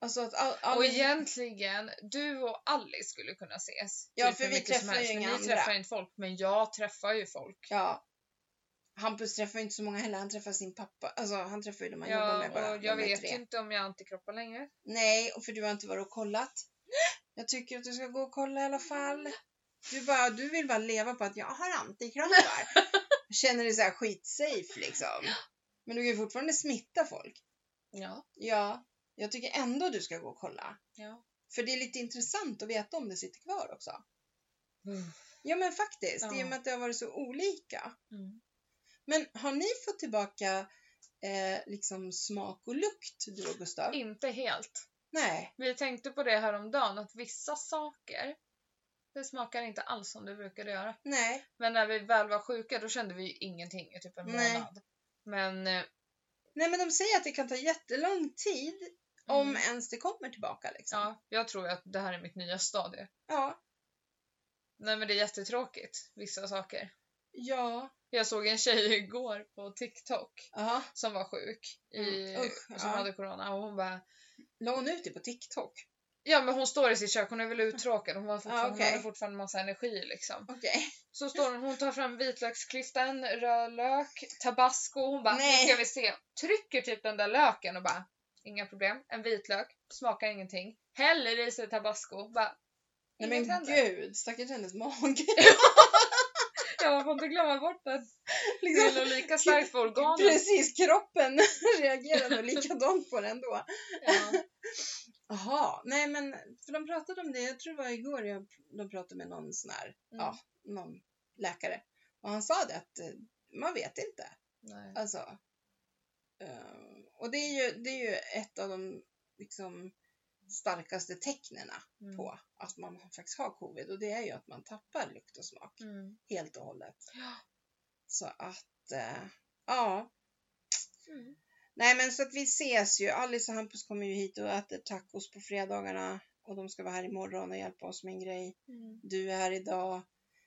Alltså att all, all... Och egentligen, du och Alice skulle kunna ses. Ja, Typ för hur vi mycket som träffar helst, ju men inga Ni andra. träffar inte folk, men jag träffar ju folk. Ja. Hampus träffar ju inte så många heller. Han träffar sin pappa. Alltså han träffar ju de han jobbar Ja, med bara. och jag de är vet tre. ju inte om jag har antikroppar längre. Nej, och för du har inte varit och kollat. Jag tycker att du ska gå och kolla i alla fall. Du, bara, du vill bara leva på att jag har antikroppar. Känner dig så här skitsafe liksom. Men du kan ju fortfarande smitta folk. Ja. Ja, jag tycker ändå du ska gå och kolla. ja. För det är lite intressant att veta om det sitter kvar också. Mm. Ja men faktiskt, i och med att det har varit så olika. Mm. Men har ni fått tillbaka eh, liksom smak och lukt du och Gustav? Inte helt. Nej. Vi tänkte på det häromdagen, att vissa saker det smakar inte alls som det brukade göra. Nej. Men när vi väl var sjuka då kände vi ju ingenting i typ en Nej. månad. Men eh, Nej men de säger att det kan ta jättelång tid om mm, ens det kommer tillbaka liksom. ja, jag tror ju att det här är mitt nya stadie. Ja. Nej men det är jättetråkigt, vissa saker. Ja. Jag såg en tjej igår på TikTok Aha. som var sjuk i, Mm, usch, som ja. hade corona och hon bara La hon ut det på TikTok? Ja men hon står i sitt kök, hon är väl uttråkad, hon, var fortfarande, okej. hon hade fortfarande massa energi liksom. Okej. Så står hon, hon tar fram vitlöksklyftan, röd lök, tabasco och hon bara Nej. nu ska vi se. Trycker typ den där löken och bara inga problem, en vitlök, smakar ingenting. Häller i sig tabasco, bara Nej inget men händer. gud, stackars hennes mage. Ja, man får inte glömma bort att det är liksom, nog lika starkt för organen. precis, kroppen reagerar nog likadant på det ändå. Ja. Jaha, nej men för de pratade om det, jag tror det var igår jag, de pratade med någon sån här, Mm. ja, någon läkare. Och han sa det att eh, man vet inte. Nej. Alltså. eh, och det är ju, det är ju ett av de liksom, starkaste tecknena Mm. på att man faktiskt har covid och det är ju att man tappar lukt och smak Mm. helt och hållet. Ja. Så att, eh, ja. Mm. Nej men så att vi ses ju. Alice och Hampus kommer ju hit och äter tacos på fredagarna och de ska vara här imorgon och hjälpa oss med en grej. Mm. Du är här idag.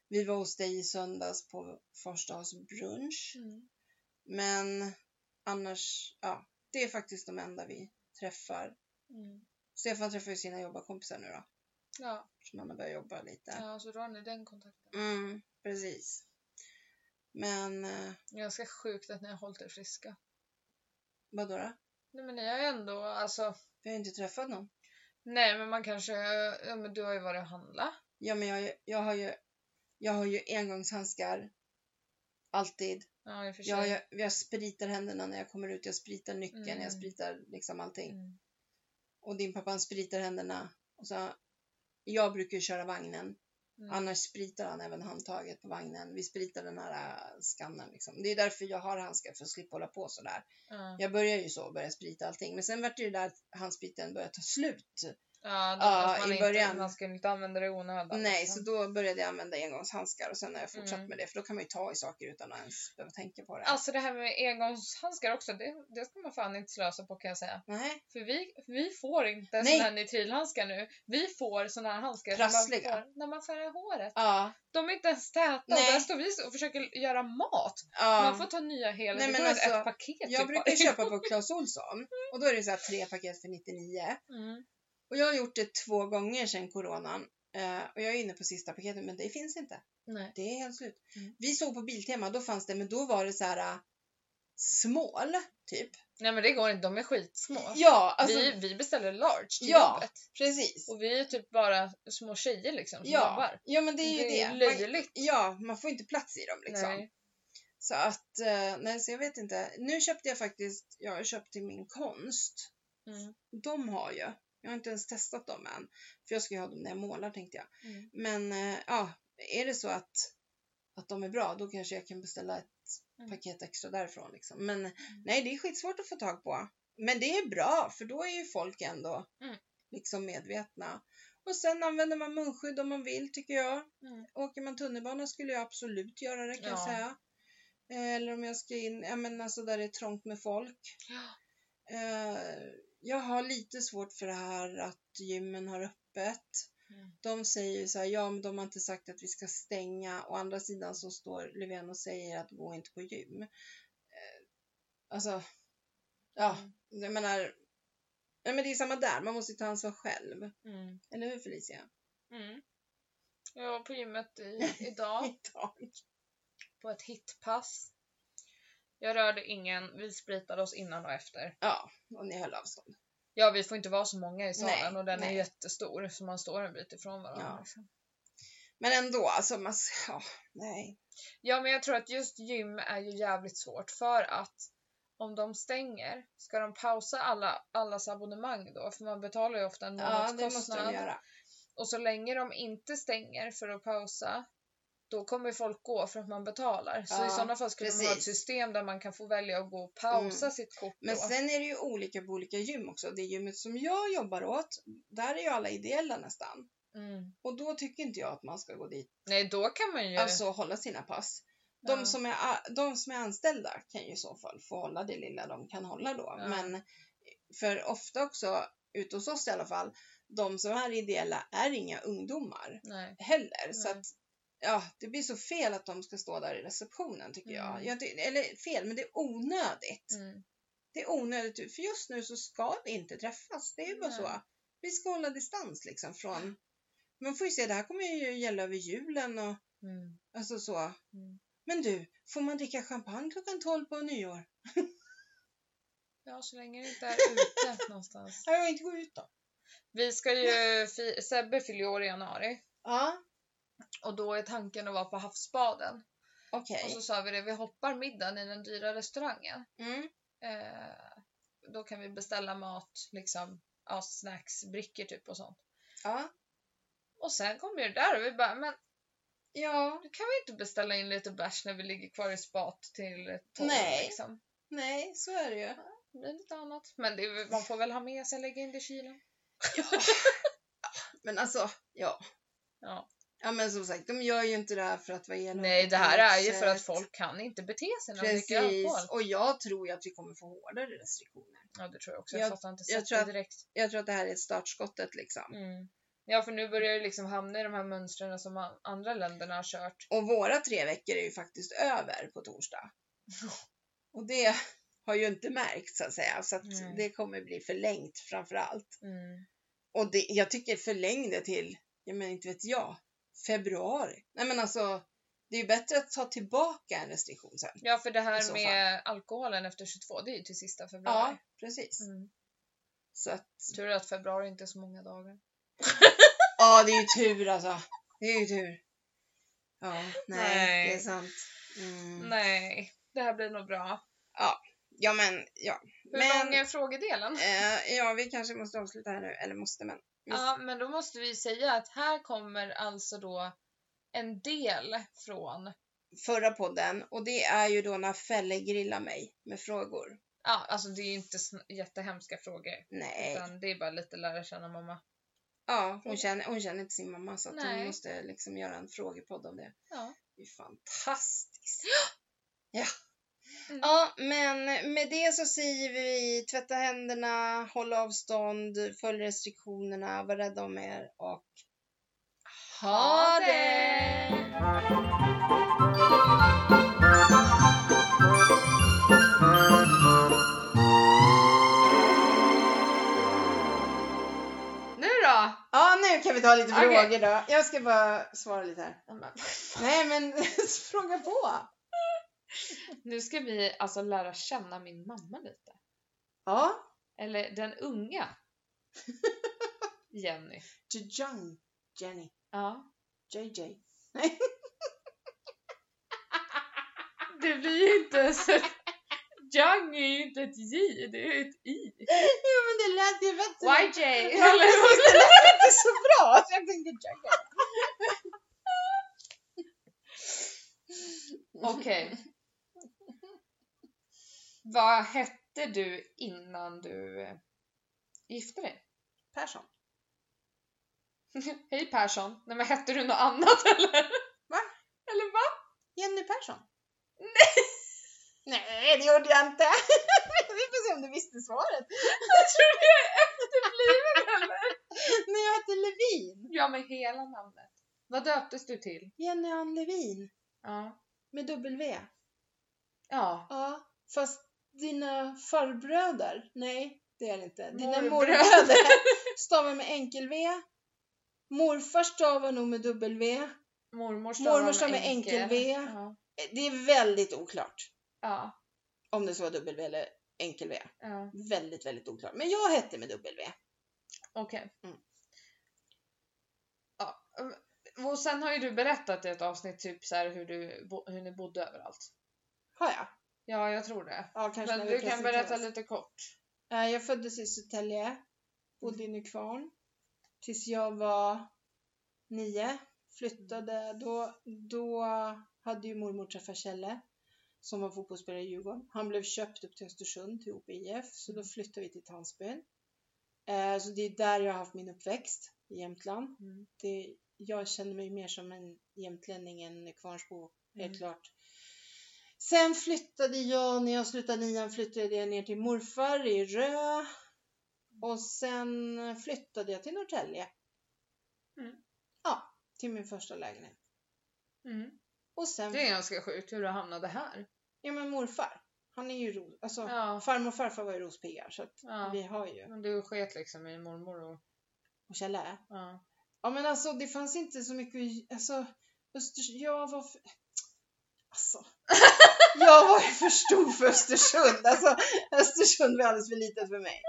Vi var hos dig i söndags på förstagsbrunch. Mm. Men annars, ja, det är faktiskt de enda vi träffar. Mm. Stefan träffar ju sina jobbarkompisar nu då, Ja. eftersom han har börjat jobba lite. ja, så då har ni den kontakten. Mm, precis. Men, eh, Ganska sjukt att ni har hållit er friska. vadå då? Nej men ni har ju ändå, alltså Vi har ju inte träffat någon. Nej, men man kanske... Ja, men du har ju varit och handlat. Ja, men jag, har ju- jag har ju, jag har ju engångshandskar. Alltid. Ja, i och för sig. Jag, jag, jag spritar händerna när jag kommer ut, jag spritar nyckeln, Mm. jag spritar liksom allting. Mm. Och din pappa han spritar händerna. Och så, jag brukar ju köra vagnen, Mm. annars spritar han även handtaget på vagnen. Vi spritar den här äh, skannern liksom. Det är därför jag har handskar, för att slippa hålla på sådär. Ja. Jag började ju så, började sprita allting. Men sen vart det ju där att handspriten började ta slut. Ja, då, Ja, att man i inte, början. Man ska ju inte använda det i onödan. Nej, så liksom. då började jag använda engångshandskar och sen har jag fortsatt Mm. med det. För då kan man ju ta i saker utan att ens behöva tänka på det. Alltså det här med engångshandskar också, det, det ska man fan inte slösa på kan jag säga. Nej, För vi, vi får inte Nej. såna här nitrilhandskar nu. Vi får såna här handskar Prassliga. man får när man färgar håret. ja, De är inte ens täta och Nej. där står vi och försöker göra mat. ja. Man får ta nya hela Nej, det men går alltså, ett paket Jag typ brukar bara. köpa på Clas Ohlson och då är det så här tre paket för 99. Mm. Och jag har gjort det två gånger sedan coronan. Eh, och jag är inne på sista paketet men det finns inte. Nej. Det är helt slut. Mm. Vi såg på Biltema, då fanns det men då var det så här eh, small typ. Nej men det går inte, de är skitsmå. Ja, alltså vi, vi beställer large till Ja. jobbet. precis. Och vi är typ bara små tjejer liksom som Ja, jobbar. ja, men det är ju det. Man- löjligt. ja, man får inte plats i dem liksom. Nej. Så att, eh, nej så jag vet inte. Nu köpte jag faktiskt, jag har köpt till min konst. Mm. De har ju. Jag har inte ens testat dem än. För jag ska ju ha dem när jag målar tänkte jag. Mm. Men eh, ja, är det så att, att de är bra då kanske jag kan beställa ett Mm. paket extra därifrån. Liksom. Men nej, det är skitsvårt att få tag på. Men det är bra för då är ju folk ändå Mm. liksom medvetna. Och sen använder man munskydd om man vill tycker jag. Mm. Åker man tunnelbana skulle jag absolut göra det kan jag Ja. säga. Eh, Eller om jag ska in, ja men alltså där det är trångt med folk. Ja. Eh, jag har lite svårt för det här att gymmen har öppet. Mm. De säger ju så här, ja men de har inte sagt att vi ska stänga. Å andra sidan så står Löfven och säger att gå inte på gym. Eh, alltså, ja, Mm. jag menar, ja, men det är samma där, man måste ju ta ansvar själv. Mm. Eller hur Felicia? Mm. Jag var på gymmet i, idag Idag. på ett hitpass. Jag rörde ingen, vi spritade oss innan och efter. Ja, och ni höll avstånd. Ja, vi får inte vara så många i salen Nej, och den nej. är jättestor så man står en bit ifrån varandra. Ja. Liksom. Men ändå, alltså, man, s- ja, nej. Ja, men jag tror att just gym är ju jävligt svårt för att om de stänger, ska de pausa alla, allas abonnemang då? För man betalar ju ofta en Ja, det måste månadskostnad. de göra. Och så länge de inte stänger för att pausa, då kommer folk gå för att man betalar. Så Ja, i sådana fall skulle man ha ett precis. Mm. system där man kan få välja att gå och pausa sitt kort Men då. sen är det ju olika på olika gym också. Det gymmet som jag jobbar åt, där är ju alla ideella nästan. Mm. Och då tycker inte jag att man ska gå dit, Nej, då kan man ju... alltså hålla sina pass. De, Ja. som är, a- de som är anställda kan ju i så fall få hålla det lilla de kan hålla då. Ja. Men för ofta också, ute hos oss i alla fall, de som är ideella är inga ungdomar Nej. heller. Så Nej. att ja, det blir så fel att de ska stå där i receptionen tycker jag. Mm. jag ty- eller fel, men det är onödigt. Mm. Det är onödigt, för just nu så ska vi inte träffas. Det är ju bara Nej. så. Vi ska hålla distans liksom från... Man får ju se, det här kommer ju gälla över julen och Mm. alltså så. Mm. Men du, får man dricka champagne klockan 12 på nyår? Ja, så länge det inte är ute någonstans. Nej, jag vill inte gå ut då. Vi ska ju, fi- Sebbe fyller ju år i januari Ja, och då är tanken att vara på havsbaden. okej. Och så sa vi det, vi hoppar middagen i den dyra restaurangen. Mm, Eh, då kan vi beställa mat, liksom, ja, snacks, brickor typ och sånt. ja. Och sen kommer det där och vi bara, men Ja, nu kan vi inte beställa in lite bärs när vi ligger kvar i spat till tolv Nej. liksom. nej, så är det ju. Det blir lite annat. Men det, är väl- man får väl ha med sig, lägga in det i kylen. Men alltså, ja. Ja. Ja, men som sagt, de gör ju inte det här för att vara elaka. Nej, det på här något är ju för att sätt. folk kan inte bete sig när de dricker alkohol. Precis, och jag tror ju att vi kommer få hårdare restriktioner. Ja, det tror jag också. Jag, Jag- fattar inte jag sättet tror att- direkt. Jag tror att det här är startskottet liksom. Mm. Ja, för nu börjar det liksom hamna i de här mönstren som a- andra länderna har kört. Och våra tre veckor är ju faktiskt över på torsdag. Och det har ju inte märkt så att säga, så att Nej. det kommer bli förlängt framför allt. Mm. Och det, jag tycker förläng det till, ja men inte vet jag, februari. Nej men alltså, det är ju bättre att ta tillbaka en restriktion sen. Ja, för det I här så med alkoholen efter 22, det är ju till sista februari. Ja, precis. Mm. Så att, Tur att februari inte är så många dagar. ja det är ju tur alltså. Det är ju tur. Ja, nej, Nej. det är sant. Mm. Nej, det här blir nog bra. Ja men, ja. Hur Men- lång är frågedelen? Eh, ja, vi kanske måste avsluta här nu. Eller måste, men. Ja, men då måste vi säga att här kommer alltså då en del från, Förra podden, och det är ju då när Felle grillar mig med frågor. ja, alltså det är ju inte sn- jättehemska frågor. Nej. Utan det är bara lite lära känna mamma. Ja, hon känner, hon känner inte sin mamma så att hon Nej. måste liksom göra en frågepodd om det. Ja. Det är fantastiskt. Ja. Mm. ja, men med det så säger vi tvätta händerna, håll avstånd, följ restriktionerna, var rädda om er och Ha det! Nu då! Ja, nu kan vi ta lite Okej. frågor då. Jag ska bara svara lite här. Ja, men- Nej, men fråga på. Nu ska vi alltså lära känna min mamma lite. Ja. Eller den unga Jenny. Jejang, Jenny, Ja. JJ. Det blir inte så... Young är ju inte ett J, det är ett I. Ja, men det lät ju bättre. YJ! Ja, precis, det lät inte så bra. Så jag tänkte JJ. Okej. Vad hette du innan du eh, gifte dig? Persson. Hej Persson! Nej men hette du något annat eller? Va? Eller va? Jenny Persson. Nej! Nej, det gjorde jag inte. Vi får se om du visste svaret. Tror du jag är efterbliven eller? Nej, jag hette Levin. Ja men hela namnet. Vad döptes du till? Jenny Ann Levin. Ja. Med W. Ja. Ja, fast dina farbröder? Nej, det är det inte. Dina Morbröder. morbröder stavar med enkel-V. Morfar stavar nog med dubbel-V. Eh, Mormor Mormor stavar med enkel-V. Ja. Det är väldigt oklart Ja. om det så var dubbel-V eller enkel-V. ja. Väldigt, väldigt oklart. Men jag hette med dubbel-V. Okej. Mm. Ja. mm. Och sen har ju du berättat i ett avsnitt typ så här hur, du, bo- hur ni bodde överallt. Har jag? Ja, jag tror det. Ja, kanske när Men vi du kan presenteras. berätta lite kort. Eh, Jag föddes i Södertälje, bodde i Nykvarn tills jag var nio. Flyttade, då, då hade ju mormor träffat Kjelle som var fotbollsspelare i Djurgården. Han blev köpt upp till Östersund, till OPIF, så då flyttade vi till Tandsbyn. Eh, Så det är där jag har haft min uppväxt, i Jämtland. Mm. Det, jag känner mig mer som en jämtlänning än Kvarnsbo, helt Mm. klart. Sen flyttade jag, när jag slutade nian, flyttade jag ner till morfar i Rö. Och sen flyttade jag till Norrtälje. Mm. Ja, till min första lägenhet. Mm. Och sen, Det är ganska sjukt hur du hamnade här. ja men morfar, han är ju ros, alltså Ja. farmor och farfar var ju rospiggar så att ja. vi har ju, Men du sket liksom i mormor och... och Kjell är. Ja. Ja men alltså det fanns inte så mycket, alltså Östers... jag var för... Alltså. Jag var ju för stor för Östersund. Alltså Östersund var alldeles för litet för mig.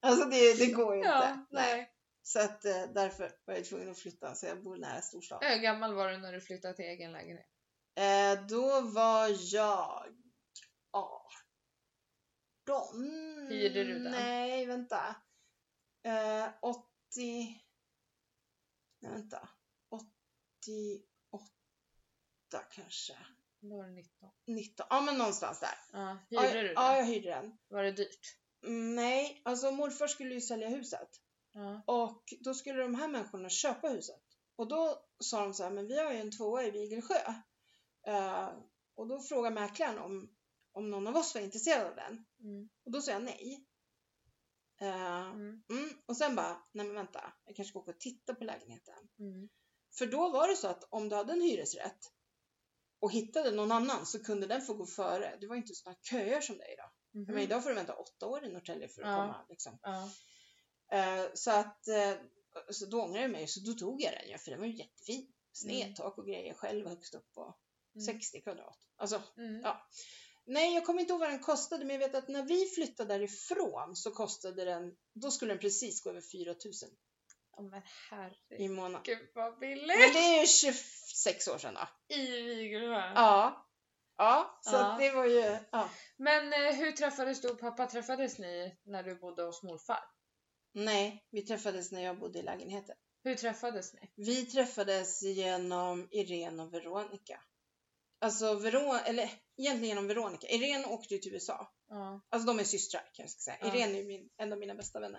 Alltså det, det går ju inte. ja Nej. nej. Så att eh, därför var jag tvungen att flytta så jag bor nära storstad. Hur gammal var du när du flyttade till egen lägenhet? Eh, då var jag 18. Hyrde du den? Nej, vänta. Eh, 80... Nej, vänta. 88 kanske. Då var du 19. 19. Ja, men någonstans där. Ja. Ja, Hyrde jag- du Ja, den? jag hyrde den. Var det dyrt? Mm, Nej, alltså morfar skulle ju sälja huset. Ja. Och då skulle de här människorna köpa huset. Och då sa de så här, men vi har ju en tvåa i Vigelsjö. Eh, och då frågade mäklaren om, om någon av oss var intresserad av den. Mm. Och då sa jag nej. Eh, Mm. mm. Och sen bara, nej men vänta, jag kanske ska åka och titta på lägenheten. Mm. För då var det så att om du hade en hyresrätt och hittade någon annan så kunde den få gå före. Det var inte sådana köer som det är idag. Mhm. Men idag får du vänta åtta år i Norrtälje för att Ja. komma liksom. Ja. Eh, så att eh, så då ångrade jag mig så då tog jag den ju för den var ju jättefin. Mm. Snedtak och grejer själv högst upp på Mm. 60 kvadrat. Alltså, Mm. Ja. nej jag kommer inte ihåg vad den kostade men jag vet att när vi flyttade därifrån så kostade den, då skulle den precis gå över 4000 Ja, men herregud i månaden. vad billigt! Men det är ju 26 år sedan då. I Vigelsjö. Ja. Ja, så Ja. Att det var ju, ja. Men eh, hur träffades du och pappa? Träffades ni när du bodde hos morfar? Nej, vi träffades när jag bodde i lägenheten. Hur träffades ni? Vi träffades genom Irene och Veronica. Alltså Veronica, eller egentligen genom Veronica. Irene åkte ju till USA. Ja. Alltså de är systrar kan jag ska säga. Ja. Irene är min, en av mina bästa vänner.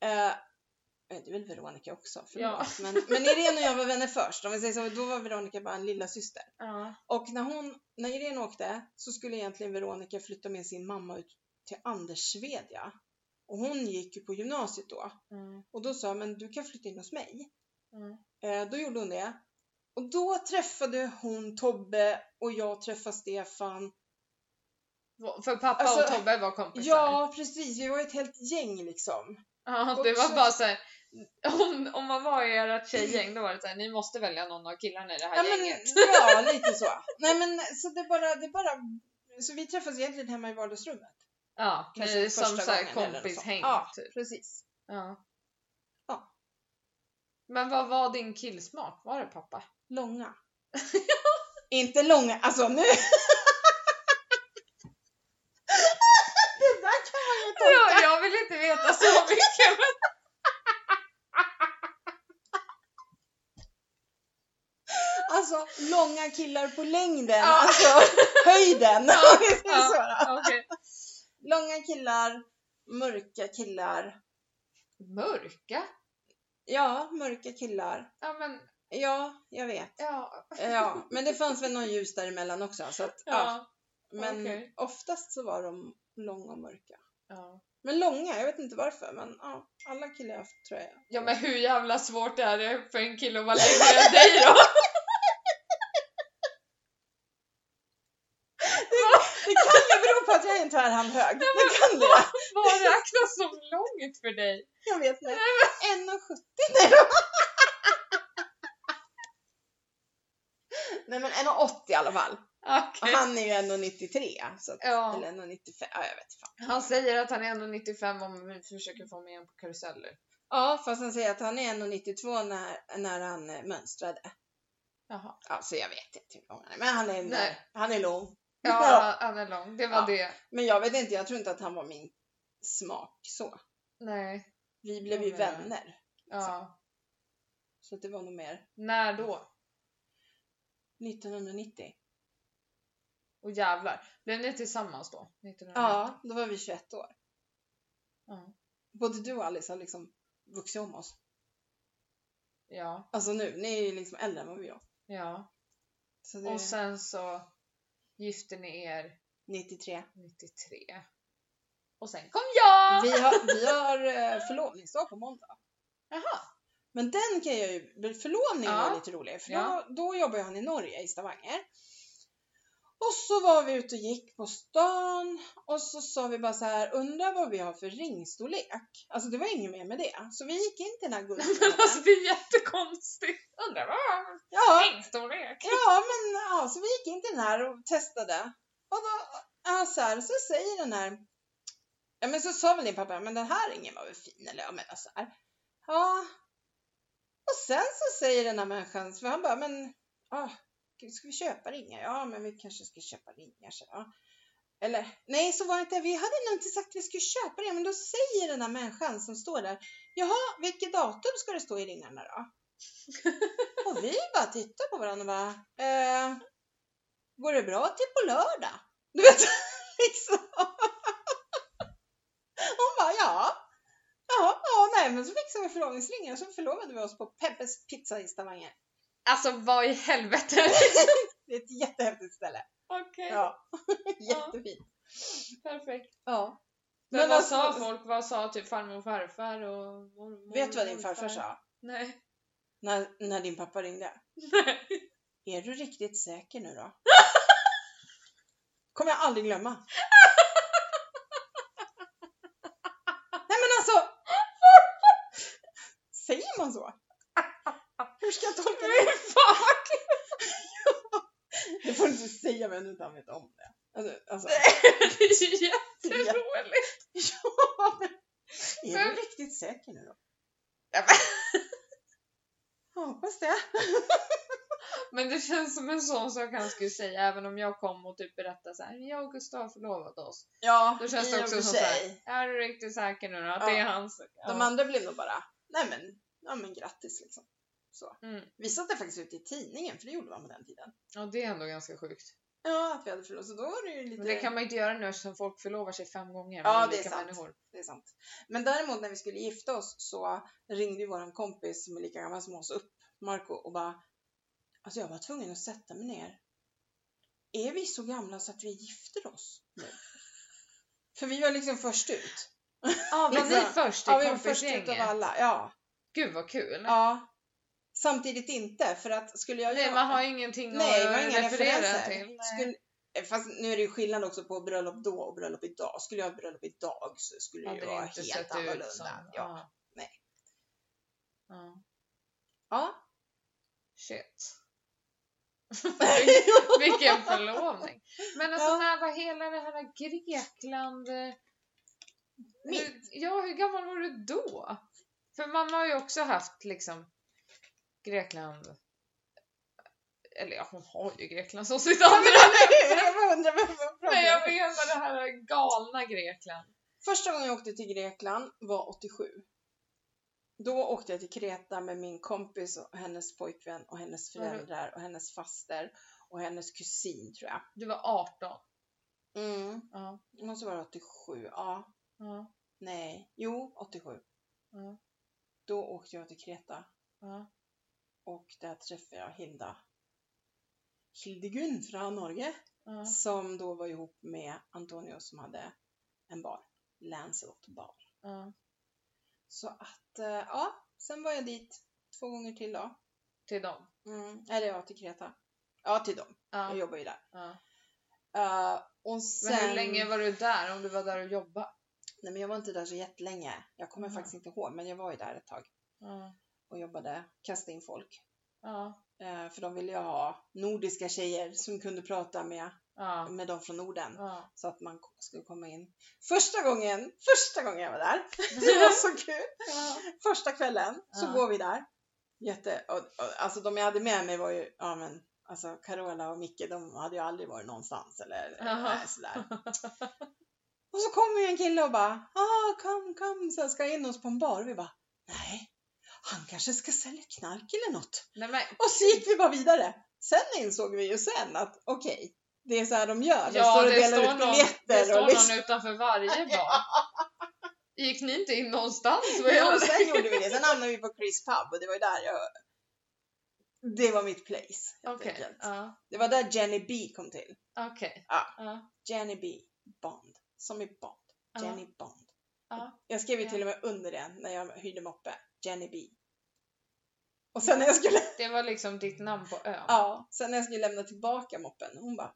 Eh, det är väl Veronica också, förlåt. Men, men Irene och jag var vänner först. Om vi säger så, då var Veronica bara en lilla syster. Ja. Och när, hon, när Irene åkte så skulle egentligen Veronica flytta med sin mamma ut till Andersvedja. Och hon gick ju på gymnasiet då. Mm. Och då sa jag, men du kan flytta in hos mig. Mm. Eh, då gjorde hon det. Och då träffade hon Tobbe och jag träffade Stefan. Va- För pappa och Alltså, Tobbe var kompisar? Ja, precis. Vi var ett helt gäng liksom. ja och det var så- bara såhär, om, om man var i ert tjejgäng då var det såhär, ni måste välja någon av killarna i det här Ja, men, gänget. ja lite så. Nej, men så det bara, det bara... Så vi träffades egentligen hemma i vardagsrummet. Ja, Kanske ni är som första såhär gången eller något kompishäng sånt. Ja, typ. precis. Ja. Ja. Men vad var din killsmak? Var det pappa? Långa. Inte långa, alltså nu... det där kan man ju ta Jag, jag vill inte veta så mycket men Alltså långa killar på längden, Ja. alltså höjden. Ja, om vi säger ja. så då. okej. Långa killar, mörka killar. Mörka? Ja, mörka killar. Ja men, Ja, jag vet. ja. Ja, men det fanns väl någon ljus däremellan också. Så att, ja. Ja. men okej. oftast så var de långa och mörka. ja. Men långa, jag vet inte varför, men ja, alla killar jag haft tror jag. Ja men hur jävla svårt är det för en kille att vara längre än dig då? Det kan ju bero på att jag är en tvärhand hög. Det kan det. Vad räknas som långt för dig? Jag vet inte. 1,70 nej då. Nej men 1,80 i alla fall. Och Okej. han är ju 1,93. Så att, Ja, Eller 1,95. Ja, jag vet fan. han säger att han är 1,95 om vi försöker få med honom på karuseller. Ja, fast han säger att han är 1,92 när, när han eh, mönstrade. Jaha. Ja, så jag vet inte hur lång han är. Men han är, en, Nej. han är lång. Ja, Ja. han är lång. Det var Ja. det. Men jag vet inte, jag tror inte att han var min smak så. Nej. Vi blev ju Nej. vänner. Ja. Så att det var nog mer När då? 1990. Och jävlar. Blev ni tillsammans då? 1990? Ja, då var vi 21 år. Ja. Både du och Alice har liksom vuxit om oss. Ja. Alltså nu, ni är ju liksom äldre än vad vi är. ja. Så det är Och sen så gifte ni er 93. 93. Och sen kom jag! Vi har, vi har eh, förlovningsdag på måndag. Jaha. Men den kan jag ju, men förlovningen Ja. var lite rolig för då, Ja. då jobbade han i Norge, i Stavanger. Och så var vi ute och gick på stan och så sa vi bara så här, undrar vad vi har för ringstorlek? Alltså det var inget mer med det. Så vi gick in till den här Men alltså guldsmeden. det är jättekonstigt. Undrar vad Ja, hängstorlek? Ja, men ja, så vi gick in till den här och testade. Och då, ja, så, här, så säger den här, ja men så sa väl din pappa, men den här ringen var väl fin eller ja men så här. Ja. Och sen så säger den här människan, för han bara, men ah, gud, ska vi köpa ringar? Ja, men vi kanske ska köpa ringar. Så, ja. Eller nej, så var det inte. Vi hade nog inte sagt att vi skulle köpa det, men då säger den här människan som står där, jaha, vilket datum ska det stå i ringarna då? Och vi bara tittar på varandra och bara, eh, går det bra till på lördag? Du vet, liksom. Hon bara, ja. Ja, ja, nej, men så fixade vi förlovningsringen och så förlovade vi oss på Peppes pizza i Stavanger. Alltså vad i helvete? Det är ett jättehäftigt ställe. Okej, Ja, jättefint. perfekt. Ja. Men, Men vad alltså- sa folk? Vad sa typ farmor och farfar och mormor? Vet du vad din morfar? farfar sa Nej. när, när din pappa ringde? Nej. Är du riktigt säker nu då? Kommer jag aldrig glömma. Nej men alltså! Säger man så? Hur ska jag tolka det? Fan. Det får du inte säga men utan vet om det. Alltså, alltså Det är ju jätteroligt! är du riktigt säker nu då? Ja, Jag hoppas det. Men det känns som en sån sak han skulle säga även om jag kom och typ berättade så här. jag och Gustav har förlovat oss. Ja, Då känns det i och också för som så här, sig. är du riktigt säker nu då? Att Ja. det är hans? Ja. De andra blev nog bara, nej men, ja men grattis liksom. Så. Mm. Vi satte faktiskt ut i tidningen, för det gjorde man på den tiden. ja, det är ändå ganska sjukt. Ja, att vi hade förlorat. Så då var det ju lite... Men det kan man ju inte göra nu eftersom folk förlovar sig fem gånger Ja, med det är olika sant. människor. Det är sant. Men däremot när vi skulle gifta oss så ringde ju våran kompis som är lika gammal som oss upp, Marco, och bara Alltså jag var tvungen att sätta mig ner. Är vi så gamla så att vi gifter oss nu? För vi var liksom först ut. Ja, var ni Liksom. först i Ja, vi var först ut av kompisgänget? alla. Ja. Gud vad kul! ja. Samtidigt inte, för att skulle jag... Nej, göra- man har ingenting Nej, att det var inga referera referenser. till. Nej. Skulle, eh, fast nu är det ju skillnad också på bröllop då och bröllop idag. Skulle jag ha bröllop idag så skulle det Hade ju det vara inte sett helt ut annorlunda. som- Ja. Nej. liksom, Ja. ja, Shit. Vilken förlovning. Men alltså Ja. när var hela det här Grekland... eh, Mitt. hur- Ja, hur gammal var du då? För mamma har ju också haft liksom Grekland... Eller ja, hon har ju Grekland som sitt andra. jag bara undrar vad vad pratar Men jag jag om? menar det här galna Grekland. Första gången jag åkte till Grekland var 87. Då åkte jag till Kreta med min kompis och hennes pojkvän och hennes Var du- föräldrar och hennes faster och hennes kusin tror jag. Du var 18. Mm. Ja. Det måste vara 87, ja. Ja. Nej, jo 87. Ja. Då åkte jag till Kreta ja. och där träffade jag Hilda. Hildegun från Norge. ja. Som då var ihop med Antonio som hade en bar. Lancelot bar. ja. Så att, eh, ja. Sen var jag dit två gånger till då. Mm, Till dem. Eller ja, till Kreta. Ja, till dem. Ja. Jag jobbar ju där. ja. Eh, och Men sen... hur länge var du där? Om du var där och jobbade? Nej, men jag var inte där så jättelänge. Jag kommer Aha. faktiskt inte ihåg, men jag var ju där ett tag Ja. och jobbade, kastade in folk. Ja. Eh, för de ville ju ha nordiska tjejer som kunde prata med, Ja. med dem från Norden. ja. Så att man skulle komma in. Första gången, första gången jag var där, det var så kul. första kvällen så Ja. går vi där. Jätte, och, och, alltså de jag hade med mig var ju, ja men alltså Carola och Micke de hade ju aldrig varit någonstans eller Jaha. nej, sådär. Och så kommer ju en kille och bara, ah kom kom, så ska jag in oss på en bar och vi bara, nej, han kanske ska sälja knark eller något. Nej men Och så gick vi bara vidare. Sen insåg vi ju sen att okej, det är så här de gör. De Ja, står och det, delar står ut någon, biljetter det står och liksom. någon utanför varje bar. Gick ni inte in någonstans? Vad Jo, gör ni? sen gjorde vi det. Sen hamnade vi på Chris Pub och det var ju där jag... Det var mitt place. helt Okej. enkelt. Ja. Det var där Jenny B kom till. Okej. Ja. Ja. Jenny B. Bond. Som i Bond. Ja. Jenny Bond. Ja. Jag skrev ju Ja. till och med under det när jag hyrde moppe. Jenny B. Och sen när jag skulle, Det var liksom ditt namn på ön. ja, sen när jag skulle lämna tillbaka moppen, hon bara,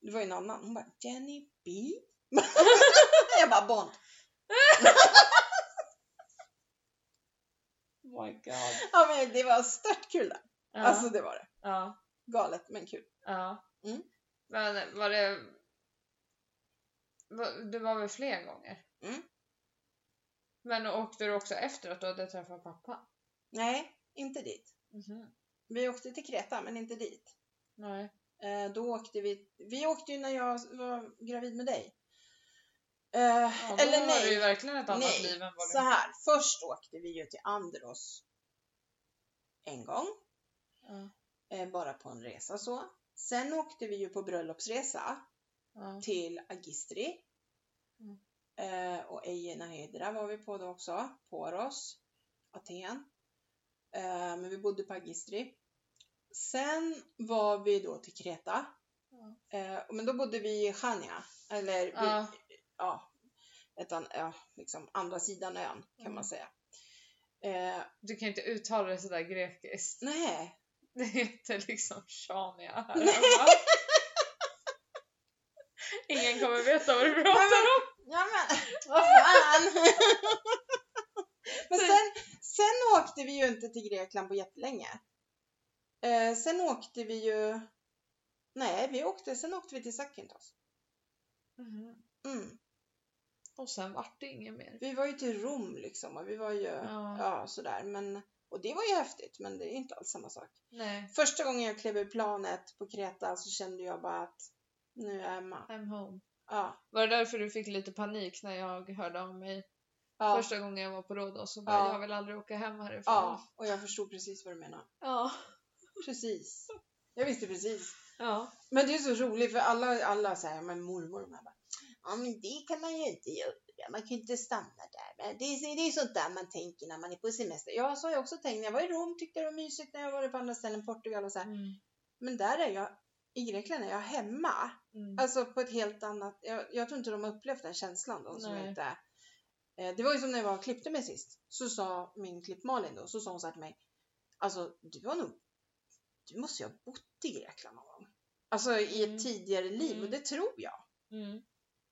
det var ju en annan, hon bara Jenny B. jag bara Bond. Oh my god. Ja, men det var stört kul där. Ja. Alltså det var det. ja, Galet men kul. ja. Mm. Men var det... Va- Det var väl fler gånger? Mm. Men åkte du också efter att du hade träffat pappa? Nej, inte dit. Vi åkte till Kreta men inte dit. Mhm. Nej. Eh, då åkte vi, vi åkte ju när jag var gravid med dig. Eh, Ja, då eller var det ju nej, verkligen ett annat Nej, liv än vad så du... här. Först åkte vi ju till Andros en gång, Ja, eh, bara på en resa så. Sen åkte vi ju på bröllopsresa ja, till Agistri. Mm. Eh, och Ejena Hydra var vi på då också, Poros, Aten. Eh, men vi bodde på Agistri. Sen var vi då till Kreta. Eh, men då bodde vi i Chania, eller vi, ja. ja, ett, an- ja, liksom andra sidan ön kan Mm. man säga. Eh, Du kan inte uttala det sådär grekiskt. Mm. nej, Det heter liksom Shania här Nej. hemma. Ingen kommer veta vad du pratar Nej, om. ja men vad fan! men sen, sen åkte vi ju inte till Grekland på jättelänge. Eh, sen åkte vi ju, nej vi åkte, sen åkte vi till Zakynthos. Mm. Och sen vart det inget mer. Vi var ju till Rom liksom och vi var ju, Ja. ja sådär men och det var ju häftigt men det är ju inte alls samma sak. Nej, Första gången jag klev ur planet på Kreta så kände jag bara att nu är Emma. I'm home. Ja, Var det därför du fick lite panik när jag hörde om mig ja, första gången jag var på Rhodos så bara Ja. jag vill aldrig åka hem härifrån. ja, och jag förstod precis vad du menar. Ja. Precis. Jag visste precis. ja. Men det är så roligt för alla, alla säger, men mormor och de här bara, ja men det kan man ju inte göra, man kan ju inte stanna där. Men det, är, det är sånt där man tänker när man är på semester. Ja, så har jag också tänkt när jag var i Rom, tyckte det var mysigt när jag var på andra ställen, Portugal och så här. Mm. Men där är jag, i Grekland är jag hemma. Mm. Alltså på ett helt annat, jag, jag tror inte de har upplevt den känslan de som Nej. inte eh, Det var ju som när jag var och klippte mig sist, så sa min klipp Malin då, så sa hon så här till mig, alltså du har nog, du måste ju ha bott i Grekland någon gång. Alltså i ett Mm. tidigare liv Mm. och det tror jag. Mm.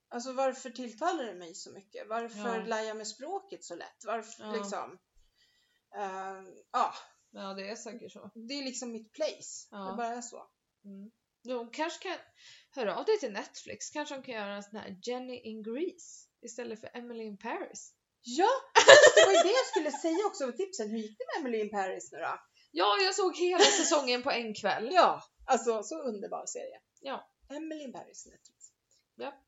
Alltså varför tilltalar det mig så mycket? Varför Ja. lär jag mig språket så lätt? Varför Ja. liksom? Eh, ja, ja, det är säkert så. det är liksom mitt place. Ja. Det bara är så. Mm. De kanske kan höra av dig till Netflix. Kanske de kan göra en sån här Jenny in Greece istället för Emily in Paris. Ja, det var ju det jag skulle säga också med tipsen. Hur gick det med Emily in Paris nu då? Ja, jag såg hela säsongen på en kväll. Ja, alltså så underbar serie. Ja. Emily in Paris Netflix. Ja.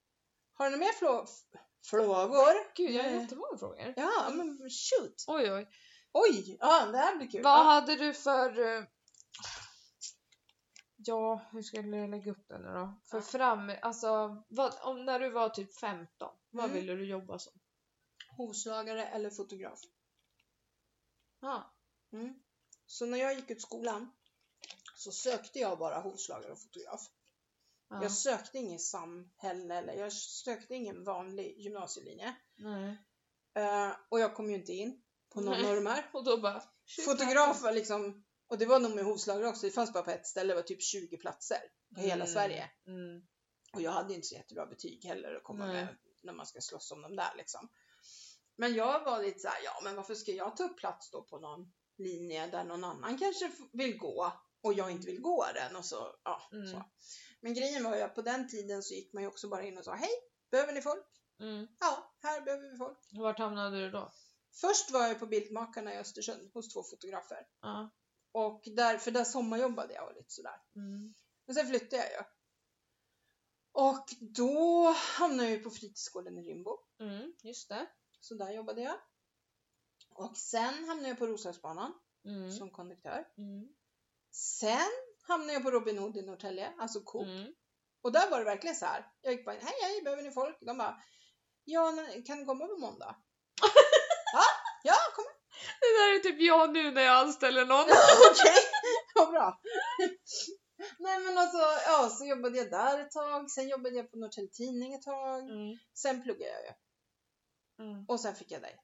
Har ni mer flå- f- frågor? Gud, jag har Nej. jättemånga frågor. Ja, men shoot. Oj, oj. Oj, ja det här blir kul. Vad Ja. hade du för... eh, Ja, hur skulle jag lägga upp den nu då? För Ja. fram... Alltså, vad, om när du var typ 15, vad Mm. ville du jobba som? Hovslagare eller fotograf. Ja. Mm. Så när jag gick ut skolan så sökte jag bara hovslagare och fotograf. ja. Jag sökte ingen samhälle eller jag sökte ingen vanlig gymnasielinje. Nej. Eh, och jag kom ju inte in på någon Nej. av de här. Och då bara... shit, Fotograf var Typ liksom, och det var nog med hovslagare också, det fanns bara på ett ställe, det var typ 20 platser på hela Mm, Sverige. Mm. Och jag hade inte så jättebra betyg heller att komma Nej. med när man ska slåss om de där liksom. Men jag var lite såhär, ja men varför ska jag ta upp plats då på någon linje där någon annan kanske f- vill gå och jag inte vill gå den och så, ja Mm. så. Men grejen var ju att på den tiden så gick man ju också bara in och sa, hej, behöver ni folk? Mm. Ja, här behöver vi folk. Vart hamnade du då? Först var jag på Bildmakarna i Östersund hos två fotografer. Ja. Och där, för där sommarjobbade jag och lite sådär. Mm. Men sen flyttade jag ju. Och då hamnade jag ju på fritidsgården i Rimbo. Mm. Just det. Så där jobbade jag. Och sen hamnade jag på Roslagsbanan Mm. som konduktör. Mm. Sen hamnade jag på Robin Hood i Norrtälje, alltså Coop. Mm. Och där var det verkligen så här. Jag gick bara in, hej hej, behöver ni folk? De bara, ja, när- kan ni komma på måndag? ja, ja, kom. Det där är typ jag nu när jag anställer någon. Okej, vad bra. Nej men alltså, ja så jobbade jag där ett tag, sen jobbade jag på Norrtälje Tidning ett tag, Mm. sen pluggade jag ju Mm. och sen fick jag dig.